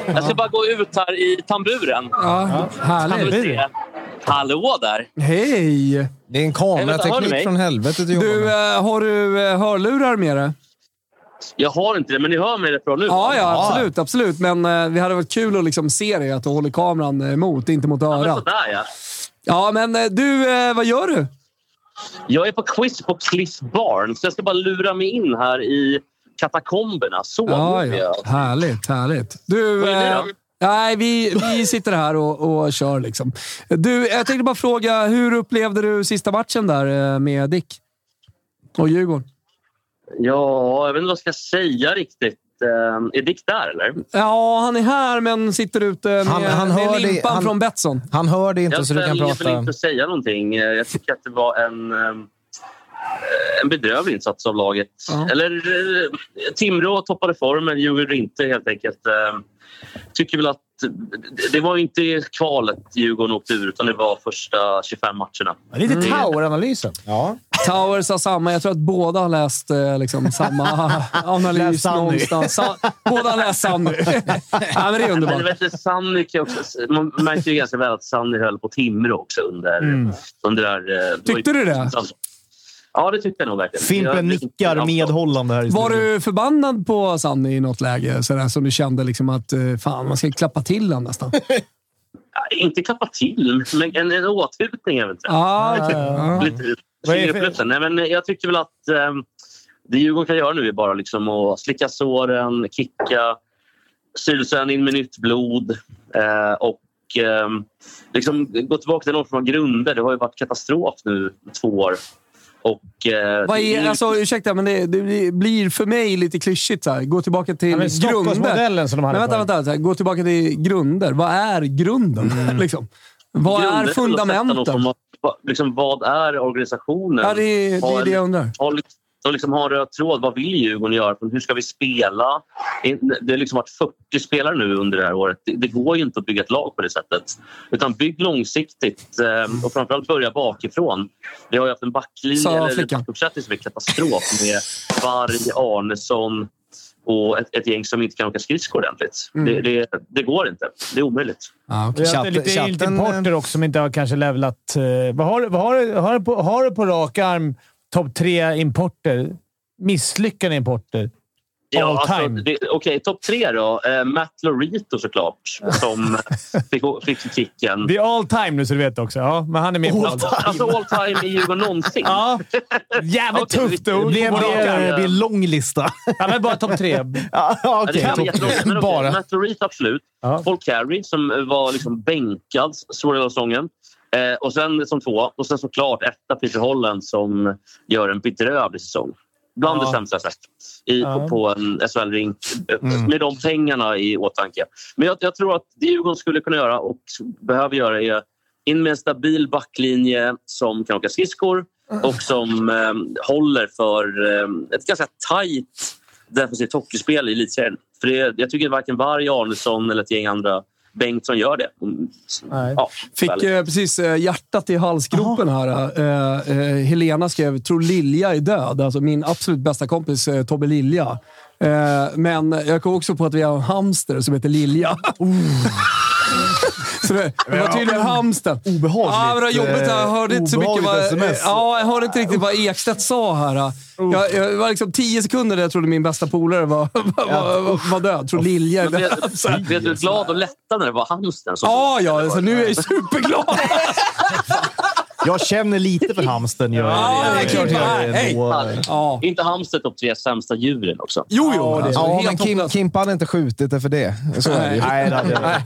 Speaker 11: Jag ska bara gå ut här i tamburen.
Speaker 1: Ja,
Speaker 11: Ska vi
Speaker 1: härligt.
Speaker 11: se. Hallå där!
Speaker 1: Hej!
Speaker 5: Det är en
Speaker 11: Hör du
Speaker 5: kamerateknik
Speaker 11: mig?
Speaker 5: från helvetet du jobbar
Speaker 1: Du,
Speaker 5: med.
Speaker 1: eh, har du eh, hörlurar med dig?
Speaker 11: Jag har inte det, men ni hör mig rätt bra nu?
Speaker 1: Ja,
Speaker 11: va?
Speaker 1: ja, absolut. absolut. Men eh, det hade varit kul att liksom se dig, att du håller kameran emot, inte mot
Speaker 11: Ja, men
Speaker 1: örat.
Speaker 11: sådär ja.
Speaker 1: Ja, men eh, du, eh, vad gör du?
Speaker 11: Jag är på quiz på Cliff Barnes. Jag ska bara lura mig in här i katakomberna. Så
Speaker 1: Ja,
Speaker 11: nu är
Speaker 1: ja.
Speaker 11: jag.
Speaker 1: Härligt, härligt. Du,
Speaker 11: Vad är det
Speaker 1: eh,
Speaker 11: då?
Speaker 1: nej, vi, vi sitter här och, och kör liksom. Du, jag tänkte bara fråga, hur upplevde du sista matchen där eh, med Dick? Och Djurgården?
Speaker 11: ja, jag vet inte vad jag ska säga riktigt. Eh, Är Dick där eller?
Speaker 1: Ja, han är här men sitter ute med,
Speaker 5: Han- han hör
Speaker 1: med
Speaker 5: dig-
Speaker 1: limpan
Speaker 5: han-
Speaker 1: från Betsson.
Speaker 5: Han hör dig inte
Speaker 11: Jag
Speaker 5: så du kan
Speaker 11: väljer väl
Speaker 5: prata.
Speaker 11: inte att säga någonting. Eh, Jag tycker att det var en, eh, en bedrövlig insats av laget.
Speaker 1: Ja.
Speaker 11: Eller eh, Timrå toppade formen, Djurgården inte helt enkelt. Eh, Tycker väl att det- det var inte kvalet Djurgården åkte ur utan det var första 25 matcherna.
Speaker 2: Lite
Speaker 11: Mm.
Speaker 5: <laughs>
Speaker 2: Tower-analysen.
Speaker 5: Ja.
Speaker 1: Towers har samma. Jag tror att båda har läst eh,
Speaker 5: <laughs>
Speaker 1: liksom, samma analys
Speaker 4: Läst Sanny.
Speaker 1: någonstans. Sa, båda har läst Sanny.
Speaker 5: <laughs>
Speaker 1: ja, men det är
Speaker 11: Men
Speaker 1: underbart.
Speaker 11: vet du, Sanny kan ju också, man märkte ju ganska väl att Sanny höll på Timrå också under, under det här... eh,
Speaker 1: Mm. Tyckte du det?
Speaker 11: Ja, det tyckte jag nog verkligen. Jag-
Speaker 4: Fimpen nickar medhållande här i
Speaker 1: Var
Speaker 4: studion.
Speaker 1: du förbannad på Sanny i något läge sådär, som du kände liksom att eh, fan, man ska klappa till
Speaker 11: <laughs>
Speaker 1: honom nästan?
Speaker 11: Ja, Inte klappa till, men en, en åthutning eventuellt.
Speaker 1: Ah, okej.
Speaker 11: Ja.
Speaker 1: ja.
Speaker 11: Lite
Speaker 2: Vad är det för-
Speaker 11: fingerplutten. Nej, men jag tycker väl att ehm, det Djurgården kan göra nu är bara liksom att slicka såren, kicka, sylsön in med nytt blod eh, och ehm, liksom gå tillbaka till någon form av grunder. Det har ju varit katastrof nu två år. Och, eh,
Speaker 1: Vad
Speaker 11: det är
Speaker 1: är,
Speaker 11: ju-
Speaker 1: alltså, ursäkta, men det, det blir för mig lite klyschigt. Så här. Gå tillbaka till
Speaker 2: Ja, men
Speaker 1: grunder.
Speaker 2: Stockholmsmodellen som de hade
Speaker 1: Men vänta,
Speaker 2: förut.
Speaker 1: vänta. Så här. Gå tillbaka till grunder. Vad är grunden? liksom? Vad
Speaker 11: Mm. grunder
Speaker 1: är
Speaker 11: till att sätta någon
Speaker 1: fundamenten?
Speaker 11: form av- va- Liksom, vad är organisationen?
Speaker 1: Ja, det, är- det
Speaker 11: Har
Speaker 1: är
Speaker 11: en-
Speaker 1: det jag undrar.
Speaker 11: har, liksom- de liksom har en röd tråd. Vad vill Djurgården göra? Hur ska vi spela? Det har liksom varit 40 spelare nu under det här året. Det, det går ju inte att bygga ett lag på det sättet. Utan bygg långsiktigt eh, och framförallt börja bakifrån. Vi har ju haft en backlinje,
Speaker 1: Sa
Speaker 11: eller en
Speaker 1: flickan.
Speaker 11: backuppsättning som är katastrof med Varg, Arnesson och ett, ett gäng som inte kan åka skridskor ordentligt. Det, det, det går inte. Det är omöjligt.
Speaker 1: Ah, Mm. okej.
Speaker 2: Vi har
Speaker 5: Chatten-
Speaker 2: haft lite
Speaker 5: chatten,
Speaker 2: importer också som inte har kanske levlat. eh, Vad har, du- vad har, du- har, du på, har du på rak arm topp tre importer? Misslyckade importer. All time.
Speaker 11: alltså, det- Okej, topp tre då. Eh, Matt Lorito såklart,
Speaker 2: <laughs>
Speaker 11: som fick, fick kicken.
Speaker 2: Det är all time nu, så du vet också. Ja, men han är med på
Speaker 11: Alltså, alltså all time i Djurgården någonsin?
Speaker 2: <laughs> Ja. Jävligt
Speaker 11: Okej,
Speaker 2: tufft
Speaker 11: vi-
Speaker 2: ord.
Speaker 4: Det blir en-
Speaker 11: Var
Speaker 4: det
Speaker 11: rakare.
Speaker 4: blir- det blir en lång lista.
Speaker 2: Ja, men bara topp tre.
Speaker 4: Ja,
Speaker 11: eh, Ja, det
Speaker 4: Okej.
Speaker 11: kan vara jättelångt, men okej.
Speaker 4: Bara.
Speaker 11: Matt Reed, absolut.
Speaker 2: Ja.
Speaker 11: Paul Carey som var liksom bänkad stora delar av säsongen. Eh, och sen som två. Och sen såklart etta Peter Holland som gör en bedrövlig säsong. Bland
Speaker 2: Ja.
Speaker 11: det sämsta jag sett i,
Speaker 2: Ja.
Speaker 11: på, på en SHL-rink. Med de pengarna i åtanke. Men jag, jag tror att det Djurgården skulle kunna göra och behöver göra är in med en stabil backlinje som kan åka skridskor och som eh, håller för eh, ett ganska tajt defensivt hockeyspel i elitserien. För det, jag tycker varken Varg, Arnesson eller ett gäng andra Bengtsson gör det. Mm,
Speaker 2: Nej.
Speaker 11: Ja,
Speaker 1: Fick
Speaker 11: väldigt.
Speaker 1: eh, precis eh, hjärtat i halsgropen här. Eh, eh, Helena skrev “Tror Lilja är död”. Alltså min absolut bästa kompis eh, Tobbe Lilja. Eh, men jag kom också på att vi har en hamster som
Speaker 4: <laughs>
Speaker 1: heter Lilja.
Speaker 4: Oh.
Speaker 1: <laughs> Så det, det var tydligen hamstern.
Speaker 4: Obehagligt. eh,
Speaker 1: Ja, men det var jobbigt. Jag hörde inte så mycket vad,
Speaker 4: Obehagligt sms.
Speaker 1: ja, jag hörde inte riktigt vad Ekstedt sa här. eh. Jag, jag var liksom tio sekunder där jag trodde min bästa polare var, <laughs> var, var, var död. Tror Lilja är
Speaker 11: Men
Speaker 1: död.
Speaker 11: blev, blev du glad och lättad när det var hamsten? som-
Speaker 1: <laughs> Ja, ja, så nu är jag ju superglad.
Speaker 4: <laughs> Jag känner lite för hamsten. Jag,
Speaker 1: Ja, det är klart jag gör.
Speaker 4: ändå.
Speaker 1: Hej. Ja.
Speaker 11: Är inte hamster topp tre sämsta djuren också?
Speaker 1: Jo, jo. det är
Speaker 5: Ja,
Speaker 1: helt
Speaker 5: men Kim,
Speaker 1: hopplöst.
Speaker 5: Kimpa hade inte skjutit det för det. Så är det ju.
Speaker 4: Nej, det hade jag inte.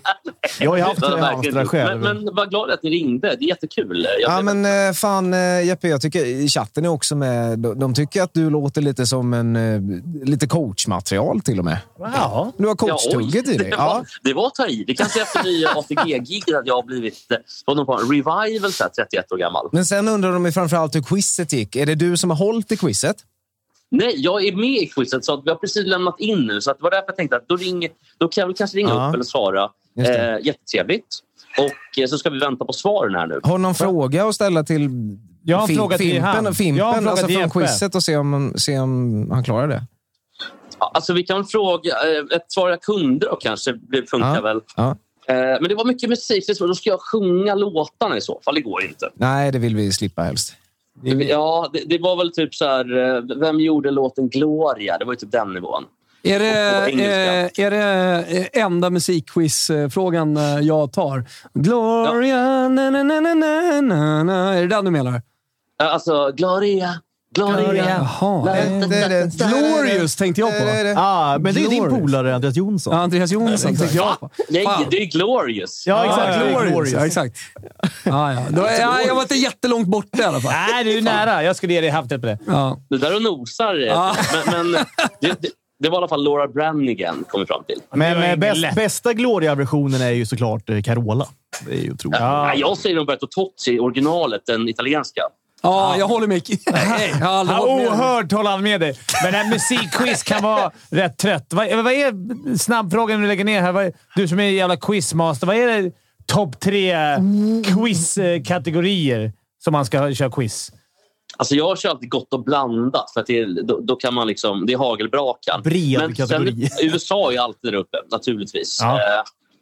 Speaker 4: Jag har ju haft
Speaker 11: Det har jag
Speaker 4: hamstrar
Speaker 11: verkligen
Speaker 4: själv.
Speaker 11: gjort. men, men vad glad att ni ringde. Det är jättekul. Jag
Speaker 5: Ja,
Speaker 11: blev-
Speaker 5: men eh, fan eh, Jeppe, jag tycker i chatten är också med. De, de tycker att du låter lite som en, eh, lite coachmaterial till och med.
Speaker 2: Ja.
Speaker 5: Du har
Speaker 11: Ja, oj.
Speaker 5: coachtugget i dig.
Speaker 11: Det
Speaker 5: Ja.
Speaker 11: var, det var att ta i. Det kanske är efter nya ATG-giget att jag har blivit eh, på någon form av revival så här, 31 år gammal.
Speaker 5: Men sen undrar de ju framförallt hur quizet gick. Är det du som har hållit i quizet?
Speaker 11: Nej, jag är med i quizet. Så att vi har precis lämnat in nu. Så att det var därför jag tänkte att då, ringer, då kan jag väl kanske ringa
Speaker 5: Ja.
Speaker 11: upp eller svara.
Speaker 5: Just
Speaker 11: Eh, jättetrevligt. Och eh, så ska vi vänta på svaren här nu.
Speaker 5: Har du någon fråga att ställa till
Speaker 11: Jag har en fråga till
Speaker 5: Fimpen?
Speaker 11: han. Jag har en
Speaker 5: Fimpen
Speaker 11: fråga
Speaker 5: alltså
Speaker 11: till
Speaker 5: från
Speaker 11: Jeppe.
Speaker 5: quizet och se om, se om han klarar det.
Speaker 11: Ja, Alltså vi kan fråga... eh, Ett svar jag kunde då kanske det funkar väl.
Speaker 5: Ja.
Speaker 11: Eh, Men det var mycket musik, så det är svårt. då ska jag sjunga låtarna i så fall. Det går inte.
Speaker 5: Nej, det vill vi slippa helst.
Speaker 11: Ja, det, det var väl typ så här... eh, Vem gjorde låten Gloria? Det var ju typ den nivån.
Speaker 1: Är det,
Speaker 11: Och engelska.
Speaker 1: eh, är det eh, enda musikquiz-frågan eh, jag tar? Gloria, na, na, na, na, na, na, na. Är det den du menar?
Speaker 11: Eh, Alltså, Gloria, Gloria.
Speaker 1: Jaha. Glorious tänkte jag på.
Speaker 4: Ah, men det är din
Speaker 1: Glorious.
Speaker 4: polare Andreas Jonsson.
Speaker 1: Ja, Andreas Jonsson tänkte jag på.
Speaker 11: Ah, Nej,
Speaker 1: Fan.
Speaker 11: det är Glorious.
Speaker 1: Ja, exakt. Glorious. Ja, exakt. Ja, ja. Då, ja, jag var inte jättelångt borta i alla fall.
Speaker 2: Nej, du är nära. Jag skulle ge dig haftet på det.
Speaker 1: Ja.
Speaker 11: Det där och nosar. eh,
Speaker 2: Ja.
Speaker 11: Men, men det, det, det var i alla fall Laura Brannigan kom vi fram till.
Speaker 4: Men eh, bäst, bästa Gloria-versionen är ju såklart eh, Carola. Det är ju otroligt.
Speaker 11: Ja. Nej, jag säger Roberto Tozzi, originalet, den italienska.
Speaker 1: Ja, jag håller med. Nej, jag har aldrig
Speaker 2: Ja,
Speaker 1: hållit med.
Speaker 2: ohört håller han med dig. Men den här musikquiz kan vara rätt trött. Vad, vad är snabbfrågan du lägger ner här? Vad, är- du som är jävla quizmaster. Vad är det topp tre quizkategorier som man ska köra quiz?
Speaker 11: Alltså jag kör alltid gott och blandat, för att det, är- då, då kan man liksom, det är hagelbrakan.
Speaker 4: Bred
Speaker 11: Men
Speaker 4: kategori.
Speaker 11: Sen, USA är ju alltid där uppe, naturligtvis.
Speaker 4: Ja.
Speaker 11: Eh,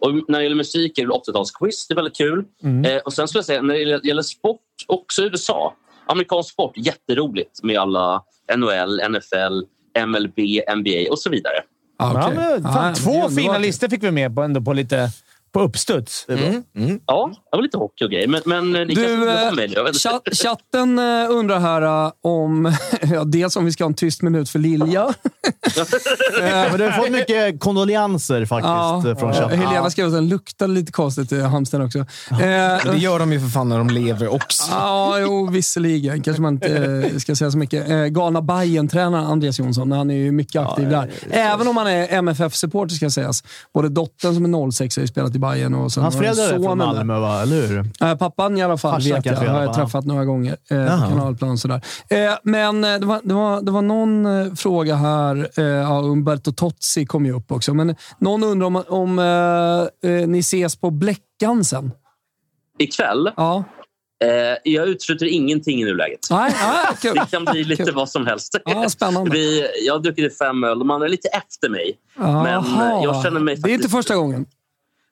Speaker 11: och när det gäller musik är det väl 80-talsquiz. Det är väldigt kul.
Speaker 4: Mm.
Speaker 11: Eh, och sen skulle jag säga, när det gäller- gäller sport, också USA. Amerikansk sport, jätteroligt med alla NHL, NFL, MLB, NBA och så vidare.
Speaker 1: Ah,
Speaker 2: ja, men, fan, två fina listor fick vi med på, ändå på lite på uppstuds.
Speaker 11: Mm. Ja, det var lite hockey och grejer. Men, men eh, ni kanske
Speaker 1: Du,
Speaker 11: inte
Speaker 1: eh,
Speaker 11: var med. Jag vet inte.
Speaker 1: chatt, chatten eh, undrar här eh, om... <laughs> Ja, dels om vi ska ha en tyst minut för Lilja.
Speaker 4: Eh, Men du har fått mycket kondolenser faktiskt eh, från chatten.
Speaker 1: Helena skrev att den luktar lite konstigt i hamsten också. Eh,
Speaker 5: Men det gör de ju för fan när de lever också.
Speaker 1: Ja, jo, visserligen. Kanske man inte eh, ska säga så mycket. Eh, galna bayern tränaren Andreas Jonsson, han är ju mycket aktiv där. Även om han är MFF-supporter, ska sägas. Både dottern som är 06 har ju spelat i Bayern och sen
Speaker 4: Hans
Speaker 1: har han
Speaker 4: föräldrar är från
Speaker 1: sonen där.
Speaker 4: Malmö, va? eller hur?
Speaker 1: Eh, pappan i alla fall
Speaker 4: Farsan
Speaker 1: vet jag.
Speaker 4: kanske i alla
Speaker 1: Har jag
Speaker 4: fall.
Speaker 1: träffat några gånger eh,
Speaker 4: Jaha.
Speaker 1: på kanalplan och sådär. Eh, men eh, det var, det, var, det var någon eh, fråga här. Eh, ja, Umberto Tozzi kom ju upp också. Men någon undrar om, om eh, eh, ni ses på Bläckan sen?
Speaker 11: Ikväll?
Speaker 1: Ja.
Speaker 11: Eh, jag utesluter ingenting i nuläget.
Speaker 1: Nej, nej, kul.
Speaker 11: Det kan bli lite vad som helst.
Speaker 1: Ja, spännande.
Speaker 11: Vi, jag har druckit fem öl. De andra är lite efter mig. Men
Speaker 1: Jaha.
Speaker 11: eh, jag känner mig...
Speaker 1: Det är inte första gången.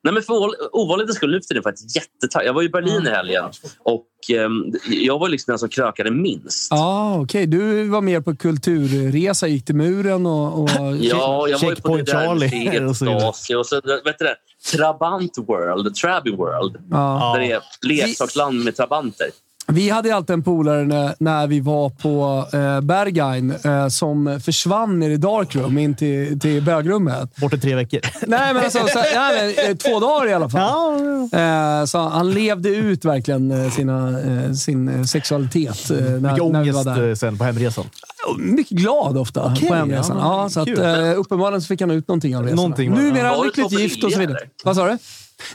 Speaker 11: Nej, men för ovanlig- ovanlighetens skull nu för tiden är jag faktiskt jättetaggad. Jag var i Berlin i helgen och ehm, jag var liksom den som krökade minst.
Speaker 1: Ja, okej. Du var mer på kulturresa, gick till muren och... och
Speaker 11: Ja, jag var ju på det där museet
Speaker 1: <laughs> och så vidare.
Speaker 11: Stasi och så, vet du det, Trabant World, Trabby World.
Speaker 1: Ja.
Speaker 11: Där det är leksaksland med trabanter.
Speaker 1: Vi hade ju alltid en polare när, när vi var på eh, Berghain eh, som försvann ner i darkroom in till, till bögrummet.
Speaker 4: Borta tre veckor.
Speaker 1: <laughs> Nej, men alltså, så, nej, men, eh, två dagar i alla fall. Eh, så han levde ut verkligen eh, sina, eh, sin eh, sexualitet eh,
Speaker 4: Mycket
Speaker 1: när, när vi
Speaker 4: ångest
Speaker 1: var där.
Speaker 4: eh, sen på hemresan.
Speaker 1: Mycket glad ofta
Speaker 4: Okej,
Speaker 1: på hemresan.
Speaker 4: ja,
Speaker 1: Ja, så att,
Speaker 4: kul.
Speaker 1: eh, uppenbarligen så fick han ut någonting av resan.
Speaker 4: Någonting var det.
Speaker 1: Numera
Speaker 4: Var det
Speaker 1: lyckligt
Speaker 4: Tobbe
Speaker 1: gift och så
Speaker 4: Lilja,
Speaker 1: vidare. Vad sa du?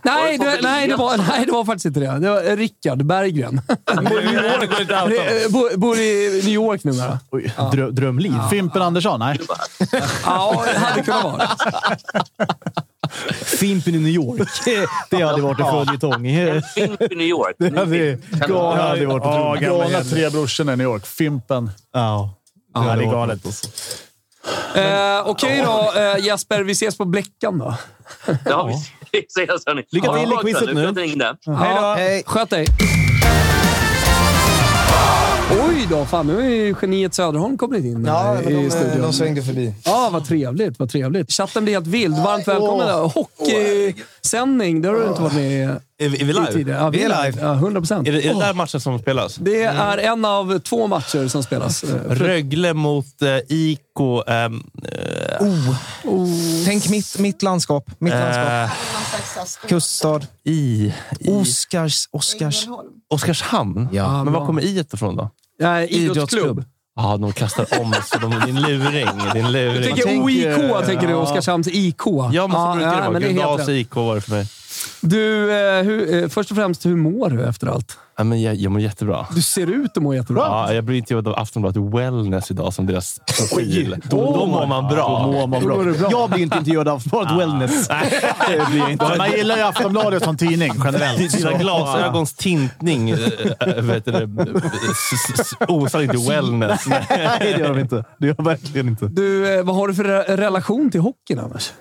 Speaker 1: Nej, det, nej, det var, nej, det var faktiskt inte det. Det var eh, Rickard Berggren. Eh, bo- Bor i New York numera.
Speaker 4: Oj, drö- drömliv. Fimpen Andersson? Nej.
Speaker 1: Ja, det hade kunnat vara.
Speaker 4: Fimpen i New York.
Speaker 3: <laughs>
Speaker 4: Det hade varit en följetong.
Speaker 11: Fimpen i New York.
Speaker 4: Det hade, det hade varit otroligt.
Speaker 3: Galna tre brorsorna i New York. Fimpen.
Speaker 4: Ja.
Speaker 3: det är
Speaker 4: hade varit
Speaker 3: galet.
Speaker 4: något.
Speaker 1: Eh, Okej då, eh, Jesper. Vi ses på Bleckan då.
Speaker 11: Ja, vi <laughs> ses hörni.
Speaker 1: Lycka
Speaker 11: Ha det
Speaker 1: till i
Speaker 11: bra
Speaker 1: quizet
Speaker 11: ikväll.
Speaker 1: nu.
Speaker 11: sköter jag in det.
Speaker 1: Ja, eh, Sköt dig. Oj då, fan nu är ju geniet Söderholm kommit in
Speaker 5: Ja,
Speaker 1: här
Speaker 5: men de,
Speaker 1: i
Speaker 5: eh,
Speaker 1: studion.
Speaker 5: de svängde förbi.
Speaker 1: Ja, vad trevligt. Vad trevligt. Chatten blir helt vild. Varmt välkommen. Hockeysändning, det har du inte varit med i.
Speaker 10: Är vi, är vi
Speaker 1: i
Speaker 10: live?
Speaker 1: tidigare. Ja, vi är live. Ja, 100 procent.
Speaker 10: Är det, är det där matchen som spelas?
Speaker 1: Det är en av två matcher som spelas. Eh,
Speaker 10: Rögle mot eh, IK... ehm, eh,
Speaker 5: Oh, Tänk mitt, mitt landskap. Mitt landskap. Kuststad.
Speaker 10: I.
Speaker 5: Oskars, Oskars.
Speaker 10: Oskarshamn?
Speaker 5: Ja.
Speaker 10: Men var kommer I ifrån då?
Speaker 1: Ja, idrottsklubb.
Speaker 10: Ja, de kastar om oss. De, din luring. Din luring.
Speaker 1: Du tänker OIK, tänker du. Oskarshamns IK.
Speaker 10: Ja, men så brukar det vara.
Speaker 1: men det är helt
Speaker 10: Gundals
Speaker 1: rätt.
Speaker 10: IK var det för mig.
Speaker 1: Du, eh, hur, eh, först och främst, hur mår du efter allt?
Speaker 10: Ja, men jag, jag mår jättebra.
Speaker 1: Du ser ut att må jättebra.
Speaker 10: Ja, jag blir intervjuad av Aftonbladet Wellness idag som deras profil.
Speaker 4: då
Speaker 10: Då, mår
Speaker 4: mår
Speaker 10: man
Speaker 4: man-
Speaker 10: bra.
Speaker 4: då mår man bra. Då går det bra. Ah. Jag blir inte intervjuad av Aftonbladet <laughs> Wellness.
Speaker 10: det blir jag inte.
Speaker 3: Man gillar ju Aftonbladet som tidning generellt.
Speaker 10: Dina
Speaker 3: Så-
Speaker 10: glasögons tintning äh, äh, vet du, det, s- s- s- osar
Speaker 1: <laughs>
Speaker 10: inte
Speaker 1: Alltså,
Speaker 10: wellness.
Speaker 4: Nej, det gör de
Speaker 10: inte. Det gör verkligen inte.
Speaker 1: Du, eh, vad har du för re- relation till hockeyn annars?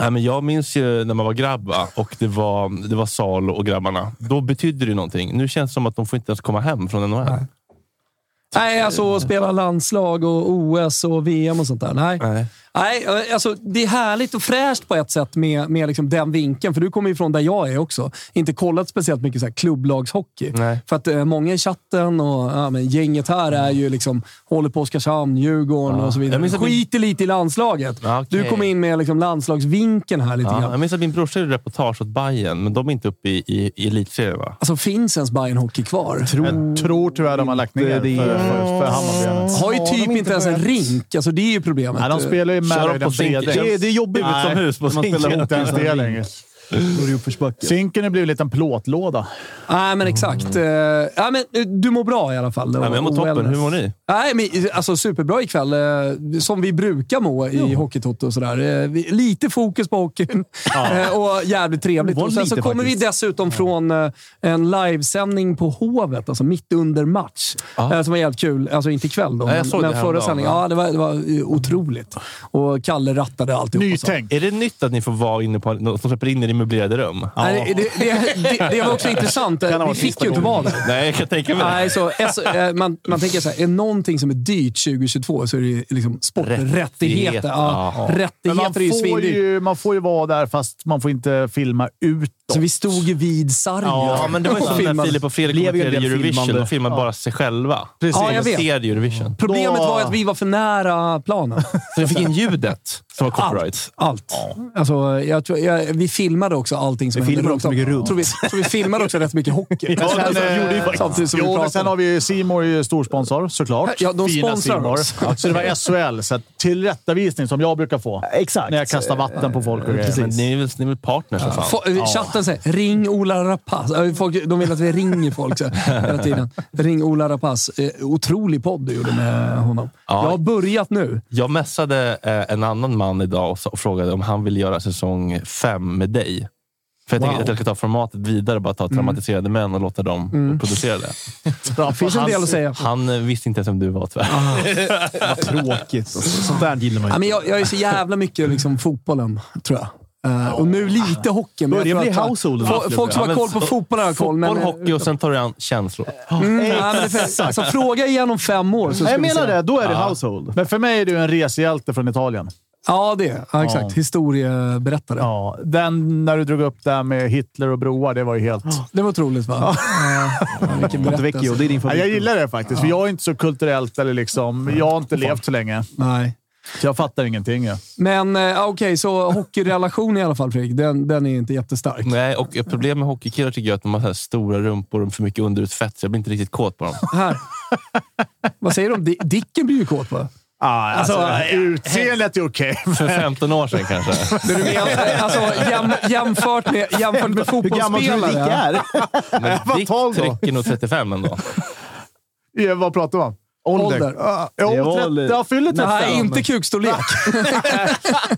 Speaker 10: Nej, men jag minns ju när man var grabb va? och det var, det var Salo och grabbarna. Då betydde det någonting. Nu känns det som att de får inte ens komma hem från NHL.
Speaker 1: Nej, alltså att spela landslag och OS och VM och sånt där. Nej.
Speaker 10: Nej.
Speaker 1: Nej, eh, alltså det är härligt och fräscht på ett sätt med, med liksom den vinkeln, för du kommer ju från där jag är också. Inte kollat speciellt mycket så här klubblagshockey. För att eh, många i chatten och ja, men gänget här är ju liksom, håller på Oskarshamn, Djurgården
Speaker 10: Ja.
Speaker 1: och så
Speaker 10: Jag
Speaker 1: vidare.
Speaker 10: minns att min-
Speaker 1: Skiter lite i landslaget.
Speaker 10: Ja, okej.
Speaker 1: Du kom in med liksom landslagsvinkeln här lite
Speaker 10: Ja,
Speaker 1: grann.
Speaker 10: jag minns att min brorsa gjorde reportage åt Bayern, men de är inte uppe i, i, i elitserien va?
Speaker 1: Alltså, finns ens Bayern hockey kvar?
Speaker 3: Jag tror tyvärr de har lagt ner för, för, för Hammarby.
Speaker 1: Har ju typ inte ens en rink. Alltså, det är ju problemet.
Speaker 3: Ja, de spelar ju med
Speaker 1: Kör de
Speaker 3: i
Speaker 1: på
Speaker 3: den
Speaker 1: zink?
Speaker 3: breda.
Speaker 1: Det är- det är jobbigt
Speaker 3: Nej,
Speaker 1: utomhus på
Speaker 3: Man spelar
Speaker 1: zinken.
Speaker 3: inte ens det
Speaker 1: Utan
Speaker 3: längre. Zinken har blivit en liten plåtlåda. Mm.
Speaker 1: Nej, men exakt. Eh, ja, men eh, du mår bra i alla fall.
Speaker 10: Ja, men jag mår
Speaker 1: Och
Speaker 10: toppen.
Speaker 1: wellness.
Speaker 10: Hur mår ni?
Speaker 1: Nej, men, eh, alltså, superbra ikväll. eh, Som vi brukar må i Hockeytoto och sådär. Eh, vi- Lite fokus på hockeyn <laughs> Eh, och jävligt trevligt.
Speaker 4: Det var
Speaker 1: Och sen så
Speaker 4: lite
Speaker 1: kommer
Speaker 4: faktiskt.
Speaker 1: vi dessutom från eh, en livesändning på Hovet, alltså mitt under match, eh, som var jävligt kul. Alltså inte ikväll då,
Speaker 10: Ja, jag
Speaker 1: men,
Speaker 10: såg det
Speaker 1: men förra
Speaker 10: häromdagen,
Speaker 1: sändningen.
Speaker 10: va?
Speaker 1: Ja, det var, det var eh, otroligt. Och Kalle rattade alltihop. och så.
Speaker 10: Är det nytt att ni får vara inne på... De släpper in er i möblerade rum?
Speaker 1: Nej, det, det, det, det var
Speaker 10: <laughs>
Speaker 1: också intressant.
Speaker 10: Kan ha
Speaker 1: Vi
Speaker 10: varit
Speaker 1: fick
Speaker 10: sista
Speaker 1: ju inte vara
Speaker 10: gången.
Speaker 1: där.
Speaker 10: Nej, jag kan tänka mig det.
Speaker 1: Nej, så, S- eh, man, man tänker så här, är någonting som är dyrt 2022 så är det ju liksom sporträttigheter. Ja,
Speaker 3: Men man,
Speaker 1: Rättigheter är ju
Speaker 3: får
Speaker 1: svindyrt.
Speaker 3: ju, man får ju vara där, fast man får inte filma ut.
Speaker 1: Så vi stod ju vid sargen.
Speaker 10: Ja, men det var ju
Speaker 1: Och
Speaker 10: som när
Speaker 1: filmade.
Speaker 10: Filip och Fredrik
Speaker 1: Blev ju en
Speaker 10: kommenterade
Speaker 1: del
Speaker 10: Eurovision.
Speaker 1: filmande.
Speaker 10: De filmade bara sig själva.
Speaker 1: Precis. Ja, jag
Speaker 10: De
Speaker 1: vet.
Speaker 10: ser Eurovision.
Speaker 1: Problemet var att vi var för nära
Speaker 10: <laughs>
Speaker 1: planen.
Speaker 10: Så vi fick in ljudet som var copyright.
Speaker 1: Allt. Alltså, jag tror, jag, vi filmade också allting som
Speaker 10: Vi
Speaker 1: hände
Speaker 10: filmade
Speaker 1: runt
Speaker 10: också
Speaker 1: om.
Speaker 10: mycket runt.
Speaker 1: Så vi, så vi filmade också rätt
Speaker 10: <laughs>
Speaker 1: mycket hockey.
Speaker 3: Men sen,
Speaker 1: Alltså,
Speaker 3: eh,
Speaker 1: samtidigt som vi
Speaker 3: jo, men
Speaker 1: pratade.
Speaker 3: sen har vi ju C-more är ju storsponsor såklart.
Speaker 1: Ja, de
Speaker 3: Fina
Speaker 1: sponsrar
Speaker 3: C More.
Speaker 1: oss.
Speaker 3: Så det var SHL, så att tillrättavisning som jag brukar få. Exakt. När jag kastar vatten på
Speaker 1: Eh,
Speaker 3: folk och grejer.
Speaker 10: Men ni är väl, ni är väl partners för
Speaker 1: Ja.
Speaker 10: fan?
Speaker 1: Fo- Chatten säger “ring Ola Rapace”. Ja, Folk, de vill att vi ringer folk så, här hela tiden. Ring Ola Rapace. Eh, Otrolig podd du gjorde med honom.
Speaker 10: Ja.
Speaker 1: Jag har börjat nu.
Speaker 10: Jag mässade eh, en annan man idag och, sa- och frågade om han ville göra säsong fem med dig. För jag
Speaker 1: Wow.
Speaker 10: tänker att jag ska ta formatet vidare, bara ta
Speaker 1: Mm.
Speaker 10: traumatiserade män och låta dem
Speaker 1: Mm.
Speaker 10: producera det.
Speaker 1: Det finns en del att säga.
Speaker 10: Han eh, visste inte ens vem du var tyvärr.
Speaker 1: Vad
Speaker 4: tråkigt. Sånt där gillar man
Speaker 1: Ja, men jag, jag är så jävla mycket liksom, fotbollen, tror jag. Eh, och nu lite hockey. men jag
Speaker 10: Börjar
Speaker 1: tror
Speaker 10: bli
Speaker 1: att-
Speaker 10: household.
Speaker 1: Fo- Folk
Speaker 10: Ja,
Speaker 1: som har
Speaker 10: men
Speaker 1: koll på
Speaker 10: så-
Speaker 1: fotbollen har koll.
Speaker 10: Boll,
Speaker 1: Men,
Speaker 10: hockey och sen tar du an känslor.
Speaker 1: mm, ja, men det är för,
Speaker 3: Exakt.
Speaker 1: alltså, fråga igen om fem år. Så ska vi se. Ja.
Speaker 3: household. Men för mig är du en resehjälte från Italien.
Speaker 1: Ja, det är ja, exakt.
Speaker 3: Ja.
Speaker 1: Historieberättare.
Speaker 3: Ja, den när du drog upp det här med Hitler och broar, det var ju helt...
Speaker 1: Det var otroligt va? Eh, Vilken berättelse.
Speaker 3: Ja, jag gillar det faktiskt, för jag är inte så kulturellt eller liksom... Jag har inte levt så länge.
Speaker 1: Nej.
Speaker 3: Så jag fattar ingenting. Ja.
Speaker 1: Men eh, okej, så hockeyrelation i alla fall Fredrik, den, den är inte jättestark.
Speaker 10: Nej, och ett problem med hockeykillar tycker jag är att de har så här stora rumpor och för mycket underutfett, så jag blir inte riktigt kåt på dem.
Speaker 1: Här. Vad säger du om Di- Dicken blir ju
Speaker 3: <laughs>
Speaker 1: kåt va?
Speaker 3: Ah, alltså,
Speaker 1: Alltså,
Speaker 3: utseendet är okej.
Speaker 10: För 15 år sedan
Speaker 1: <laughs>
Speaker 10: kanske.
Speaker 1: Det du menar, alltså, jäm, jämfört med, jämfört med fotbollsspelare.
Speaker 10: Men
Speaker 3: var
Speaker 10: Dick
Speaker 3: 12 då.
Speaker 10: trycker nog 35 ändå.
Speaker 3: Ja, vad pratar man om?
Speaker 1: Ålder.
Speaker 3: Ah, jo,
Speaker 1: Det är
Speaker 3: 30,
Speaker 1: ålder.
Speaker 3: jag fyller 35.
Speaker 1: Nej, inte kukstorlek.
Speaker 3: <laughs>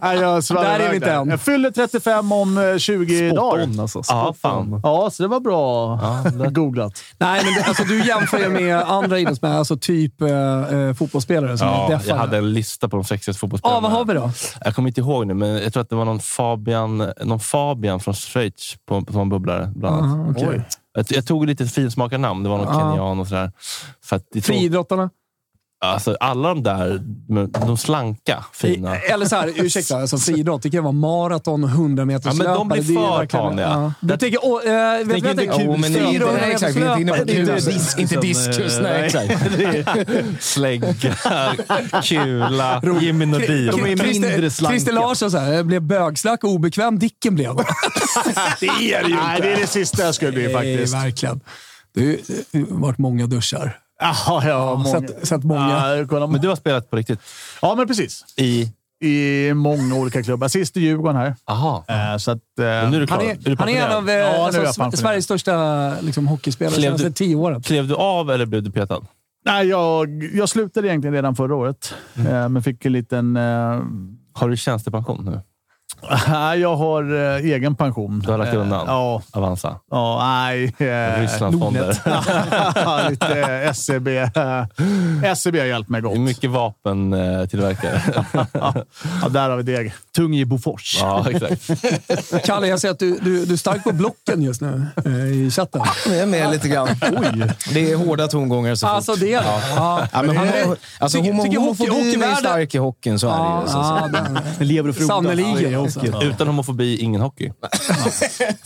Speaker 3: Nej, jag svallar
Speaker 1: Där är vi
Speaker 3: iväg
Speaker 1: inte än.
Speaker 3: Jag fyller 35 om eh, 20
Speaker 1: Spot
Speaker 3: dagar.
Speaker 1: on, alltså. Spot
Speaker 3: ja,
Speaker 1: on.
Speaker 3: Ja, så det var bra googlat.
Speaker 1: Nej, men det, alltså, du jämför ju med andra idrottsmän, alltså typ eh, eh, fotbollsspelare som är
Speaker 10: Ja, jag
Speaker 1: deffade.
Speaker 10: hade en lista på de sexigaste
Speaker 1: Ja,
Speaker 10: fotbollsspelarna.
Speaker 1: vad har vi då?
Speaker 10: Jag kommer inte ihåg nu, men jag tror att det var någon Fabian, någon Fabian från Schweiz på, på en bubblare, bland annat.
Speaker 1: Ah, okej. Oj.
Speaker 10: Jag, jag tog lite finsmakarnamn. Det var någon
Speaker 1: Ah.
Speaker 10: kenyan och sådär. För att det tog-
Speaker 1: Friidrottarna?
Speaker 10: Alltså, alla de där, de slanka, fina.
Speaker 1: Eller så här, ursäkta, alltså friidrott, det kan vara maraton och 100
Speaker 10: Ja,
Speaker 1: meters
Speaker 10: men de blir
Speaker 1: det är ju
Speaker 10: för
Speaker 1: verkligen-
Speaker 10: taniga.
Speaker 1: ja. Du tänker, åh, eh, vet du vad jag tänker?
Speaker 10: Jo, men
Speaker 1: Fyra
Speaker 10: inte-
Speaker 1: hundra meters
Speaker 5: exakt, vi är inte inne på
Speaker 1: löpare.
Speaker 5: kulor. Inte diskus, nej, exakt.
Speaker 10: eh, <laughs> Det är Slägga,
Speaker 1: <laughs>
Speaker 10: kula, Jimmy Nordin.
Speaker 1: Christer, Christer Larsson så här, jag blev bögslack och obekväm dicken blev.
Speaker 3: <laughs> det är det ju Nej, det är det sista jag skulle bli faktiskt.
Speaker 1: Nej, verkligen. Det har ju- det har varit <laughs> många duschar.
Speaker 3: Jaha, ja.
Speaker 1: Sett- sett många.
Speaker 3: Ja, kolla.
Speaker 10: Men du har spelat på riktigt?
Speaker 3: Ja, men precis.
Speaker 10: I?
Speaker 3: i många olika klubbar. Sist i Djurgården här.
Speaker 10: Aha.
Speaker 3: så att, eh,
Speaker 10: nu är du klar.
Speaker 1: Han
Speaker 10: Är du
Speaker 1: är, han är en
Speaker 10: pensionerad?
Speaker 1: av eh,
Speaker 10: Ja, nu är
Speaker 1: alltså,
Speaker 10: jag
Speaker 1: Sve-
Speaker 10: pensionerad.
Speaker 1: Sveriges största liksom, hockeyspelare de
Speaker 10: Klev
Speaker 1: senaste
Speaker 10: du,
Speaker 1: tio åren.
Speaker 10: klev du av eller blev du petad?
Speaker 3: Nej, jag, jag slutade egentligen redan förra året, eh, men fick en liten... Eh,
Speaker 10: Mm. Har du tjänstepension nu?
Speaker 3: Nej, jag har eh, egen pension.
Speaker 10: Du har lagt
Speaker 3: Eh,
Speaker 10: undan?
Speaker 3: Ja.
Speaker 10: Avanza?
Speaker 3: Ja, nej. eh, <laughs>
Speaker 10: Rysslandsfonder.
Speaker 3: Nordnet. <laughs> Lite eh, SEB. eh, SEB har hjälpt mig gott.
Speaker 10: Mycket vapentillverkare.
Speaker 3: <laughs> ja, där har vi deg.
Speaker 4: Tung i Bofors.
Speaker 10: Ja, exakt.
Speaker 1: <laughs> Kalle, jag ser att du, du, du är stark på blocken just nu eh, i chatten.
Speaker 5: Jag är med lite
Speaker 3: <laughs>
Speaker 5: grann. Det är hårda tongångar så fort.
Speaker 1: Alltså, det är det. Ja.
Speaker 5: Ja, men
Speaker 1: Det är-
Speaker 5: homo, <laughs>
Speaker 1: <laughs>
Speaker 5: alltså,
Speaker 1: tycker-
Speaker 5: homo,
Speaker 1: tycker hockey-
Speaker 5: homofobin är ju
Speaker 1: hockeyvärlden- Eh,
Speaker 5: stark i hockeyn, så är det ju. Så,
Speaker 1: Ja,
Speaker 5: så.
Speaker 1: den- Lever och frodas. Sannerligen, alltså.
Speaker 10: Utan homofobi, ingen hockey.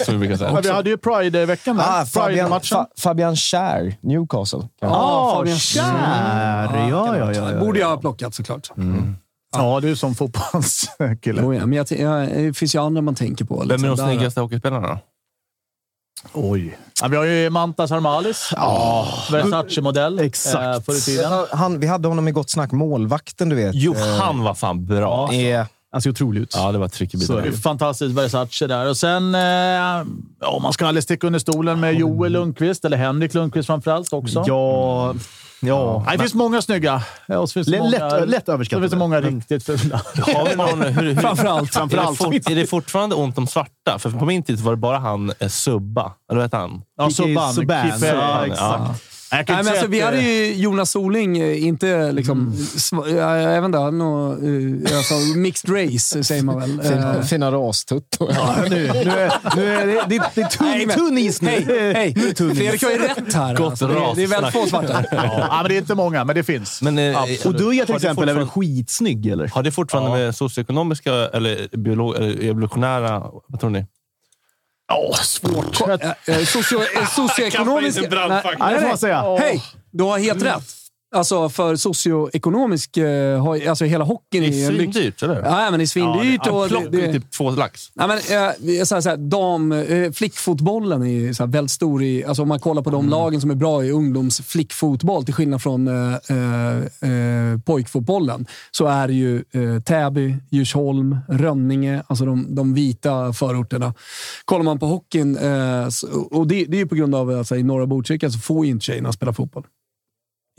Speaker 10: Som vi brukar
Speaker 3: Men vi
Speaker 10: säga.
Speaker 3: hade ju Pride-veckan där.
Speaker 5: Ah, Fabian,
Speaker 3: Pride-matchen.
Speaker 5: Fa, Fabian Schär,
Speaker 1: Ah,
Speaker 5: Newcastle.
Speaker 3: Ja, Fabian
Speaker 5: Schär.
Speaker 3: Schär. Ja, ja, ja, ja.
Speaker 1: Borde jag ha plockat såklart.
Speaker 3: Mm.
Speaker 1: Mm.
Speaker 3: Ja, du är som fotbollskille.
Speaker 1: Jo, Oh, ja, men jag, t- jag, det finns ju andra man tänker på. liksom,
Speaker 10: Vem är de
Speaker 1: Där-
Speaker 10: snyggaste hockeyspelarna då?
Speaker 3: Oj. Ja, vi har ju Mantas Armalis. Oh. Versace-modell. Eh, förr i tiden.
Speaker 5: Han, vi hade honom i Gott Snack, målvakten du vet.
Speaker 10: Jo, han var fan bra.
Speaker 5: är,
Speaker 4: Han ser otrolig ut.
Speaker 10: Ja, det var tryck i
Speaker 3: Så det är
Speaker 10: bilen.
Speaker 3: ju fantastiskt Versace där. Och sen, eh, ja, man ska aldrig sticka under stolen med Joel Lundqvist, eller Henrik Lundqvist framförallt också.
Speaker 4: Ja... Ja.
Speaker 3: Nej, det finns många snygga. Ja, och så finns det
Speaker 4: Lätt-
Speaker 3: många,
Speaker 4: lätt överskattade.
Speaker 3: Det finns det många riktigt fula.
Speaker 10: Har vi någon, hur,
Speaker 1: <laughs>
Speaker 3: <laughs>
Speaker 10: hur,
Speaker 1: Framförallt.
Speaker 10: Är, det fort, är det fortfarande ont om svarta? För på min tid så var det bara han eh, Subba. Eller vad hette han?
Speaker 3: Ja,
Speaker 4: Kiki
Speaker 3: Subban.
Speaker 4: Subban.
Speaker 3: Kiffer.
Speaker 10: Ja,
Speaker 3: Ja,
Speaker 10: exakt.
Speaker 3: exakt. Jag kan
Speaker 1: Nej,
Speaker 3: inte
Speaker 1: men
Speaker 3: säga
Speaker 1: alltså,
Speaker 3: att
Speaker 1: vi
Speaker 3: det- Mm.
Speaker 1: hade ju Jonas Soling, eh, inte liksom... Sv- jag, jag vet inte, han nog, eh, alltså, mixed race säger man väl. Eh,
Speaker 5: Fina, fina rastuttor.
Speaker 4: Nu, nu är, nu är det, det, det är tunn,
Speaker 1: Nej, men-
Speaker 4: tunn is nu.
Speaker 1: Hej, hej.
Speaker 4: Nu är det tunn is.
Speaker 1: Fredrik har ju rätt här.
Speaker 10: Gott
Speaker 1: alltså. Det, är- det är väldigt få
Speaker 10: rassnack.
Speaker 1: svarta.
Speaker 3: Ja, men det är inte många, men det finns.
Speaker 10: Men, eh,
Speaker 4: Och Duja
Speaker 10: har
Speaker 4: till
Speaker 10: det
Speaker 4: exempel är väl
Speaker 10: fortfarande-
Speaker 4: skitsnygg, eller?
Speaker 10: Har det fortfarande med socioekonomiska eller, biolog, eller evolutionära... Vad tror ni?
Speaker 3: Åh, svårt.
Speaker 1: Ko- eh, eh, socio- eh,
Speaker 10: Kasta
Speaker 1: Socioekonomiska...
Speaker 10: in en brandfackla.
Speaker 3: Nej, det får man säga.
Speaker 1: Hej! Du har helt rätt. Alltså, för socioekonomisk... eh, har- Alltså, hela hockeyn
Speaker 10: Det
Speaker 1: är ju
Speaker 10: är
Speaker 1: en lyx...
Speaker 10: svindyrt, eller?
Speaker 1: Ja, men det är svindyrt. och
Speaker 10: Han
Speaker 1: det,
Speaker 10: plockar
Speaker 1: det,
Speaker 10: ju typ två lax.
Speaker 1: Nej, men, eh, så här, så här, dam, eh, flickfotbollen är ju så här, väldigt stor i... Alltså, om man kollar på de lagen som är bra i ungdomsflickfotboll, till skillnad från eh, eh, eh, pojkfotbollen, så är det ju eh, Täby, Djursholm, Rönninge, alltså de, de vita förorterna. Kollar man på hockeyn, eh, så- och det, det är ju på grund av att alltså, i norra Botkyrka så får ju inte tjejerna spela fotboll.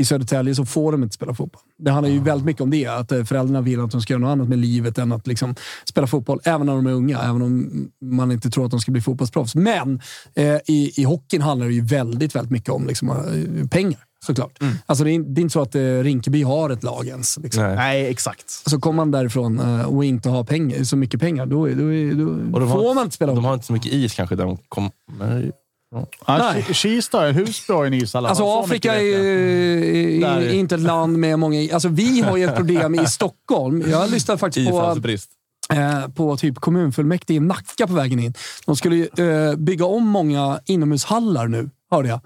Speaker 1: I Södertälje så får de inte spela fotboll. Det handlar ju väldigt mycket om det, att eh, föräldrarna vill att de ska göra något annat med livet än att liksom spela fotboll, även när de är unga, även om man inte tror att de ska bli fotbollsproffs. Men eh, i, i hockeyn handlar det ju väldigt, väldigt mycket om liksom, eh, pengar, såklart. Alltså, det, är, in- det är inte så att eh, Rinkeby har ett lag ens. Liksom.
Speaker 10: Nej.
Speaker 4: Nej, exakt.
Speaker 1: Så kommer man därifrån eh, och inte har pengar, så mycket pengar, då, är- då, är- då,
Speaker 10: Och de har-
Speaker 1: får man inte spela
Speaker 10: De
Speaker 1: fotboll.
Speaker 10: har inte så mycket is kanske. Där de kommer.
Speaker 3: Ja,
Speaker 1: Nej.
Speaker 3: Ki- Kista, Husby har ju en ishall. i alla fall.
Speaker 1: Alltså
Speaker 3: Så mycket
Speaker 1: Afrika är
Speaker 3: vet jag.
Speaker 1: ju
Speaker 3: Där.
Speaker 1: är inte ett land med många... Alltså vi har ju ett
Speaker 3: <laughs>
Speaker 1: problem i Stockholm. Jag lyssnade faktiskt på...
Speaker 10: Isfallsbrist.
Speaker 1: eh, på typ kommunfullmäktige i Nacka på vägen in. De skulle ju, eh, bygga om många inomhushallar nu, hörde jag.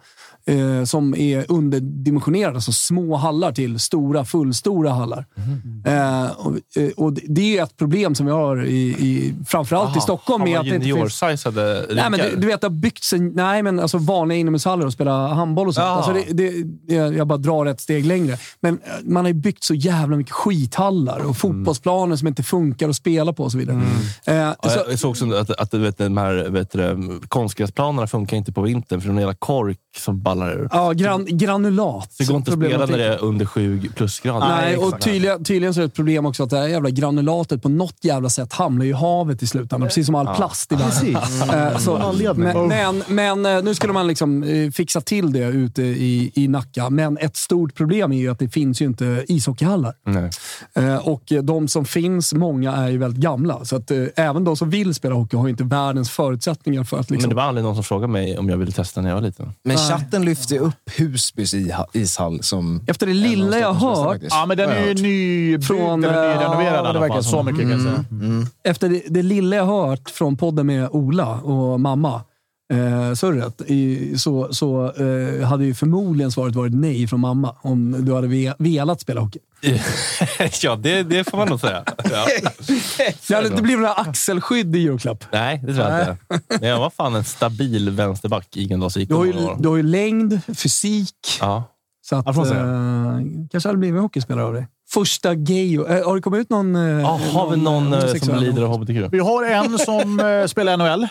Speaker 1: Eh, som är underdimensionerade, alltså små hallar till stora, fullstora hallar.
Speaker 3: Mm.
Speaker 1: Eh, och, eh, och det- det är ett problem som vi har, i, i, framförallt i Stockholm. Med att det inte finns,
Speaker 10: Juniorsizade
Speaker 1: Nej, men du,
Speaker 10: rinkar.
Speaker 1: du vet, det har byggts en, nej, men alltså vanliga inomhushallar och spela handboll och sånt.
Speaker 10: Ja.
Speaker 1: Alltså det, det, det- jag bara drar ett steg längre. Men eh, man har ju byggt så jävla mycket skithallar
Speaker 10: Mm.
Speaker 1: och fotbollsplaner som inte funkar att spela på och så vidare. Eh,
Speaker 10: Ja,
Speaker 1: så,
Speaker 10: jag såg också att, att du vet, de här vet du, konstgräsplanerna funkar inte på vintern för det är en jävla kork som ballar ur.
Speaker 1: ja, gran, granulat.
Speaker 10: Så det går inte att spela när
Speaker 1: Problematik.
Speaker 10: det är under 7 plusgrader.
Speaker 1: Nej, och tydligen, tydligen så är det ett problem också att det här jävla granulatet på något jävla sätt hamnar ju i havet i slutändan, precis som all plast i världen. Eh, Så, men, men, men eh, nu skulle man liksom eh, fixa till det ute i, i Nacka, men ett stort problem är ju att det finns ju inte ishockeyhallar.
Speaker 10: Nej.
Speaker 1: Eh, Och eh, de som finns, många, är ju väldigt gamla. Så att eh, även de som vill spela hockey har ju inte världens förutsättningar för att
Speaker 10: Men
Speaker 1: liksom...
Speaker 10: det var aldrig någon som frågade mig om jag ville testa när jag var liten.
Speaker 5: Men chatten Eh, lyfte ju upp Husbys iha- ishall som...
Speaker 1: Efter det lilla jag hört
Speaker 3: Ja, men den är ju nybyggd
Speaker 1: Från,
Speaker 3: eller
Speaker 1: eh,
Speaker 3: nyrenoverad
Speaker 1: ja,
Speaker 3: i
Speaker 1: det Mm.
Speaker 3: alla fall. Så mycket kan jag säga.
Speaker 5: Mm.
Speaker 1: efter det, det lilla jag hört från podden med Ola och mamma, eh, surret, i, så, så eh, hade ju förmodligen svaret varit nej från mamma om du hade ve, velat spela hockey.
Speaker 10: <laughs> ja, det, det får man nog säga.
Speaker 1: <laughs>
Speaker 10: Ja.
Speaker 1: Det hade inte blivit några axelskydd i julklapp.
Speaker 10: Nej, det tror jag inte.
Speaker 1: <laughs>
Speaker 10: Men jag var fan en stabil vänsterback i Gröndals IK.
Speaker 1: Du har, ju,
Speaker 10: några år.
Speaker 1: du har ju längd, fysik,
Speaker 10: Ja.
Speaker 1: så att,
Speaker 4: Ja, får man säga.
Speaker 1: eh, kanske hade blivit hockeyspelare av dig. första gay... eh, Har det kommit ut någon...
Speaker 10: Ja, har vi någon eh, som lider av hbtq?
Speaker 3: Vi har en som eh, spelar NHL.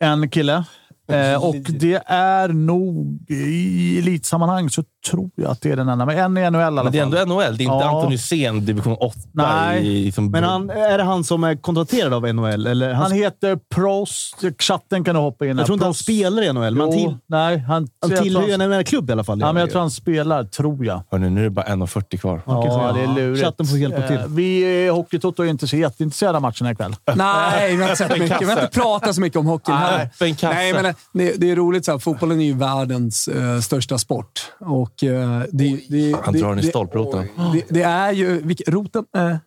Speaker 3: En kille. Eh, och det är nog i elitsammanhang så tror jag att det är den enda. Men en i NHL i alla fall.
Speaker 10: Men det är ändå NHL. Det är inte
Speaker 3: Ja.
Speaker 10: Anthony Sen division 8
Speaker 3: Nej.
Speaker 10: i liksom
Speaker 3: Men han-
Speaker 4: Är det han som är kontrakterad av NHL? Eller
Speaker 3: Han heter Prost. Chatten kan du hoppa in.
Speaker 4: Jag tror inte han spelar i NHL, men han till-
Speaker 3: nej, han,
Speaker 4: han
Speaker 3: jag
Speaker 4: tillhör
Speaker 3: tror
Speaker 4: ju
Speaker 3: han-
Speaker 4: en NHL-klubb i alla fall.
Speaker 3: Ja, men jag tror han spelar, tror jag.
Speaker 10: Hörrni, nu är det bara 1.40 kvar.
Speaker 3: Ja, det är lurigt.
Speaker 4: Chatten får hjälpa till.
Speaker 3: Eh, Vi i Hockeytoto är inte så jätteintresserade av matchen ikväll. <laughs> Eh,
Speaker 1: Nej, vi har inte sett mycket. Vi har inte pratat så mycket om hockeyn
Speaker 3: Nej,
Speaker 1: heller.
Speaker 3: öppen kasse.
Speaker 1: Nej, men eh, det, det är roligt. Så här, fotbollen är ju världens eh, största sport. Och, eh, det, det,
Speaker 10: Han
Speaker 1: det,
Speaker 10: drar den i
Speaker 1: det-
Speaker 10: stolproten.
Speaker 1: Det, det är ju... Vilk, roten?
Speaker 3: <laughs>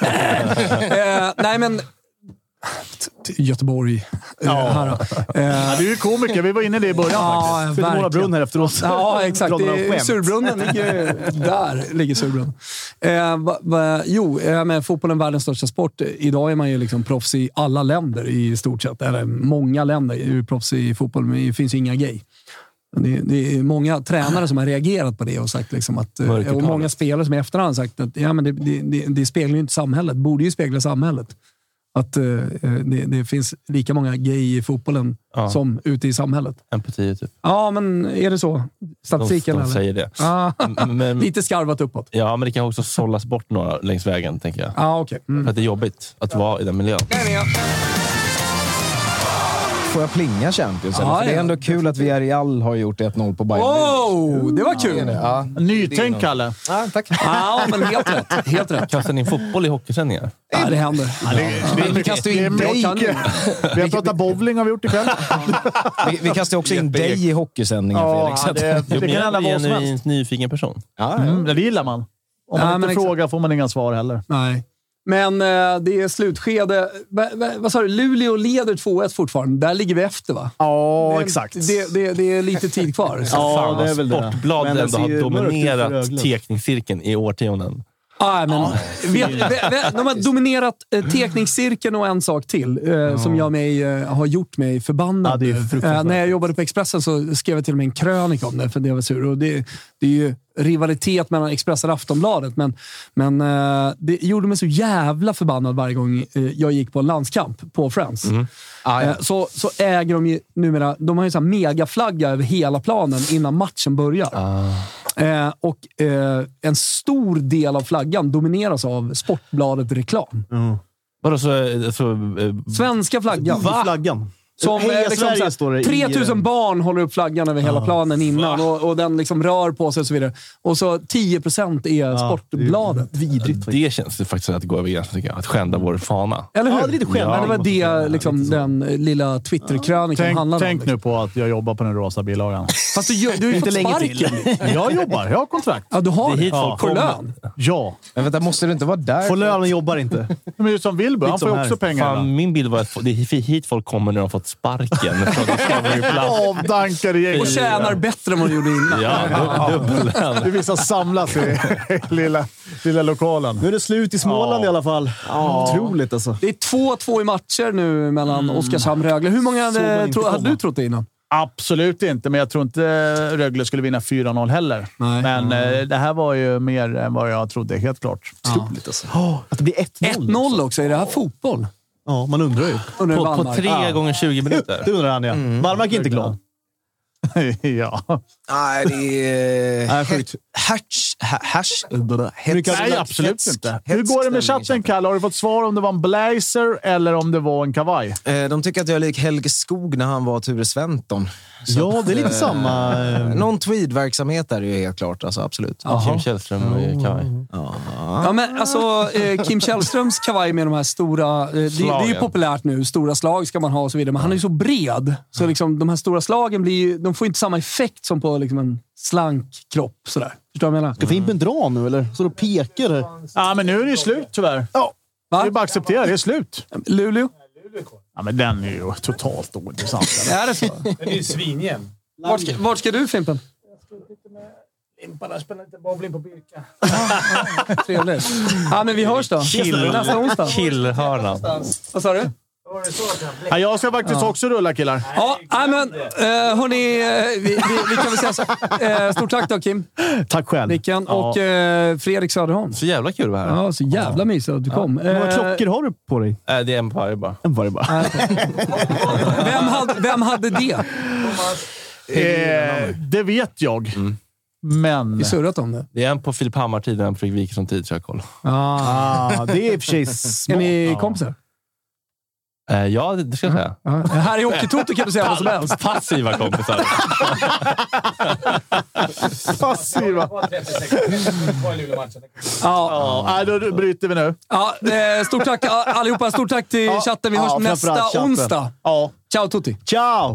Speaker 1: Eh. eh, nej, men... t- Göteborg. eh, Här, då.
Speaker 3: Ja, du är ju komiker. Vi var inne i det i början faktiskt. Skulle måla brunn här efteråt.
Speaker 1: Ja, exakt.
Speaker 3: Dra några
Speaker 1: Det är-
Speaker 3: skämt.
Speaker 1: Surbrunnen ligger... Där ligger surbrunnen. Eh, va, va, jo, eh, men fotbollen är världens största sport. Idag är man ju liksom proffs i alla länder i stort sett. Eller många länder är ju proffs i fotboll, men det finns ju inga gay. Det, det är många tränare som har reagerat på det och sagt liksom att... eh, Och
Speaker 10: Mörkertalet.
Speaker 1: många spelare som i efterhand sagt att ja, men det, det, det, det speglar ju inte samhället. borde ju spegla samhället. Att eh, det, det finns lika många gay i fotbollen
Speaker 10: Ja.
Speaker 1: som ute i samhället.
Speaker 10: Empati, typ.
Speaker 1: Ja, men är det så? Statistiken?
Speaker 10: de, de
Speaker 1: eller?
Speaker 10: säger det.
Speaker 1: Ah,
Speaker 10: Men-
Speaker 1: lite skarvat uppåt.
Speaker 10: Ja, men det kan också sållas bort några längs vägen, tänker jag.
Speaker 1: Ja, okej.
Speaker 10: För att det är jobbigt att vara i den miljön.
Speaker 5: Får jag plinga Champions? eller?
Speaker 10: Ja,
Speaker 5: För det är
Speaker 10: ja.
Speaker 5: ändå kul att Villarreal har gjort 1-0 på Bayern Mm,
Speaker 1: Wow! Det var kul!
Speaker 5: Ja.
Speaker 3: Nytänk, Kalle.
Speaker 5: Ja, tack.
Speaker 1: Ja, men helt rätt. Helt rätt.
Speaker 10: Kastar ni in fotboll i hockeysändningar?
Speaker 1: Ja, det händer.
Speaker 5: Men vi kastar ju in dig.
Speaker 3: Vi har pratat bowling har vi gjort ikväll.
Speaker 5: Vi, vi kastar också in dig i hockeysändningen,
Speaker 3: Ja,
Speaker 5: Felix. Så
Speaker 10: <laughs>
Speaker 5: att-
Speaker 3: det- det
Speaker 10: Jo, men
Speaker 3: kan
Speaker 10: jag
Speaker 3: hända
Speaker 10: är
Speaker 3: vad
Speaker 10: en
Speaker 3: som helst.
Speaker 10: genuint nyfiken person.
Speaker 3: Mm, det gillar man. Om man
Speaker 1: Ja, men
Speaker 3: inte
Speaker 1: exakt.
Speaker 3: frågar får man inga svar heller.
Speaker 1: Nej. Men eh, det är slutskede. Va, va, vad sa du? Luleå leder 2-1 fortfarande. Där ligger vi efter, va?
Speaker 3: Ja,
Speaker 1: exakt. Det, det, det är lite tid kvar.
Speaker 10: <laughs> Ja, Fan, det alltså, är väl Sportbladet
Speaker 4: Men det
Speaker 10: ändå
Speaker 4: ser ju
Speaker 10: har
Speaker 4: mörkt ut för
Speaker 10: dominerat
Speaker 4: ögonen.
Speaker 10: teckningscirkeln i årtionden.
Speaker 1: Ah, men, vet, vet, vet, de har dominerat eh, teckningscirkeln och en sak till eh, som jag mig, eh, har gjort mig förbannad.
Speaker 3: Ja, det är
Speaker 1: nu.
Speaker 3: fruktansvärt.
Speaker 1: Eh, när jag jobbade på Expressen så skrev jag till och med en krönika om det, för det var sur. Och det, det är ju rivalitet mellan Expressen och Aftonbladet, men, men eh, det gjorde mig så jävla förbannad varje gång eh, jag gick på en landskamp på Friends.
Speaker 3: Ah,
Speaker 1: Eh, Så, så äger de ju numera... De har ju en sån här megaflagga över hela planen innan matchen börjar.
Speaker 3: Ah.
Speaker 1: Eh, och eh, en stor del av flaggan domineras av Sportbladet-reklam.
Speaker 10: Mm. Vadå, så... så eh,
Speaker 1: Svenska flaggan.
Speaker 4: I flaggan.
Speaker 1: Som,
Speaker 4: Heja
Speaker 1: eh, liksom,
Speaker 4: Sverige
Speaker 1: så här,
Speaker 4: står det i,
Speaker 1: 3000
Speaker 4: eh,
Speaker 1: barn håller upp flaggan över
Speaker 3: Ah,
Speaker 1: hela planen innan och, och den liksom rör på sig och så vidare. Och så 10% är
Speaker 3: Ah.
Speaker 1: Sportbladet.
Speaker 4: Vidrigt.
Speaker 10: det känns ju faktiskt att gå över gränsen, tycker jag. Att skända vår fana.
Speaker 1: Eller hur?
Speaker 4: Ja, det är lite skämt.
Speaker 1: Men det var det liksom, den eh, lilla Twitterkrönikan
Speaker 3: Tänk,
Speaker 1: handlade om.
Speaker 3: tänk
Speaker 1: Liksom.
Speaker 3: nu på att jag jobbar på den rosa
Speaker 1: <laughs>
Speaker 3: bilagan.
Speaker 1: Fast du, gör- du har ju fått sparken.
Speaker 3: Jag jobbar. Jag har kontrakt.
Speaker 1: Ja, du
Speaker 10: Det
Speaker 1: har
Speaker 10: är
Speaker 1: det.
Speaker 10: hit
Speaker 1: Ja.
Speaker 10: folk
Speaker 1: Får
Speaker 10: kommer.
Speaker 1: lön.
Speaker 3: Ja.
Speaker 5: Men vänta, måste du inte vara där?
Speaker 4: Får lönen jobbar inte.
Speaker 3: Men just som Wilbur, han
Speaker 4: Lite
Speaker 3: får ju
Speaker 4: som
Speaker 3: också
Speaker 4: här.
Speaker 3: pengar. ibland.
Speaker 10: Fan, min bild var att det är hit folk kommer när de har fått
Speaker 3: <laughs>
Speaker 10: sparken. från Discovery Plus.
Speaker 3: Avdankade gäng.
Speaker 1: Och tjänar bättre än vad du gjorde innan.
Speaker 10: Ja, du- dubbellön.
Speaker 3: Det är vissa
Speaker 10: <laughs>
Speaker 3: samlas i lilla, lilla lokalen.
Speaker 4: Nu är det slut i Småland i alla fall. Otroligt alltså.
Speaker 1: Det är 2-2 i matcher nu mellan Oskarshamn och Rögle. Hur många hade,
Speaker 4: Mm. man inte
Speaker 1: tro, hade
Speaker 4: komma.
Speaker 1: du trott det innan?
Speaker 3: Absolut inte, men jag tror inte Rögle skulle vinna 4-0 heller.
Speaker 1: Nej.
Speaker 3: Men eh, det här var ju mer än vad jag trodde, helt klart.
Speaker 4: Otroligt alltså. Att det blir 1-0.
Speaker 1: 1-0 också. Är det här fotboll?
Speaker 4: Ja, man undrar ju.
Speaker 1: Undrar
Speaker 10: På, på
Speaker 1: Wallmark.
Speaker 10: tre gånger 20 minuter.
Speaker 4: Det undrar han ja. Wallmark är inte glad. <laughs>
Speaker 3: ja.
Speaker 5: Nej, det är...
Speaker 4: Nej, sjukt.
Speaker 5: Hertz... Hertz...
Speaker 3: Nej, absolut inte. Hur går det med chatten, Kalle? Har du fått svar om det var en blazer eller om det var en kavaj?
Speaker 5: Eh, De tycker att jag är lik Helge Skog när han var Ture Sventon. Så
Speaker 4: Ja,
Speaker 5: att,
Speaker 4: det är lite
Speaker 5: eh,
Speaker 4: samma, eh.
Speaker 5: Någon tweedverksamhet är det ju helt klart. Alltså, absolut.
Speaker 10: Kim Källström eh, kavaj.
Speaker 1: Ja, men alltså, eh, Kim Källströms kavaj med de här stora... Eh, det, det är ju
Speaker 10: Slagen.
Speaker 1: populärt nu. Stora slag ska man ha och så vidare. Men han är ju så bred, så liksom, de här stora slagen blir ju, de får inte samma effekt som på liksom, en slank kropp. Sådär. Förstår du vad jag menar?
Speaker 4: Ska Fimpen dra nu eller? Så du och pekar? här.
Speaker 3: Ja, men nu är det ju slut tyvärr. Ja.
Speaker 1: Va?
Speaker 3: Det är bara att acceptera. Det är slut.
Speaker 1: Luleå?
Speaker 3: Ja, men den är ju totalt ointressant.
Speaker 1: <laughs> Är
Speaker 2: <laughs>
Speaker 1: det så?
Speaker 2: Den är ju svinjämn.
Speaker 1: Vart ska, vart ska du, Fimpen?
Speaker 2: Limparna spelar inte bowling på Birka.
Speaker 1: Trevligt. Ja, men vi hörs då. Nästa onsdag.
Speaker 10: Killhörnan.
Speaker 1: Vad sa du?
Speaker 3: <laughs> Ja, jag ska faktiskt också rulla killar.
Speaker 1: Ja, nej, men eh, hörni, eh, vi, vi, vi kan väl säga så. Eh, stort tack då Kim.
Speaker 3: Tack själv.
Speaker 1: Vilken. Och eh, Fredrik Söderholm. Så
Speaker 10: jävla kul att vara här.
Speaker 1: Ja, så jävla mysigt att du kom.
Speaker 10: Hur många
Speaker 1: Eh,
Speaker 10: klockor
Speaker 4: har du på dig?
Speaker 10: Äh, det är en varje Äh, bara.
Speaker 4: En varje bara.
Speaker 1: Vem hade, vem hade det?
Speaker 3: Eh, det vet jag. Men...
Speaker 1: Vi surrat om det.
Speaker 10: Mm. Det är en på Filip Hammar-tid och en på Fredrik Wikingsson-tid, så jag har koll.
Speaker 1: Ah.
Speaker 10: det <laughs> är i och för sig smart.
Speaker 1: Är ni
Speaker 10: Ja.
Speaker 1: kompisar?
Speaker 10: Eh, ja, det det ska jag säga.
Speaker 1: Ja. Här i Hockeytoto kan du säga vad som helst.
Speaker 10: Passiva kompisar.
Speaker 1: Ah.
Speaker 3: <laughs> Passiva.
Speaker 1: Ja.
Speaker 3: Ja, då bryter vi nu.
Speaker 1: Ja, eh, stort tack allihopa. Stort tack till chatten. Vi hörs
Speaker 3: ja,
Speaker 1: nästa
Speaker 3: framförallt chatten.
Speaker 1: onsdag.
Speaker 3: Ja.
Speaker 1: Ciao Tutti!
Speaker 4: Ciao!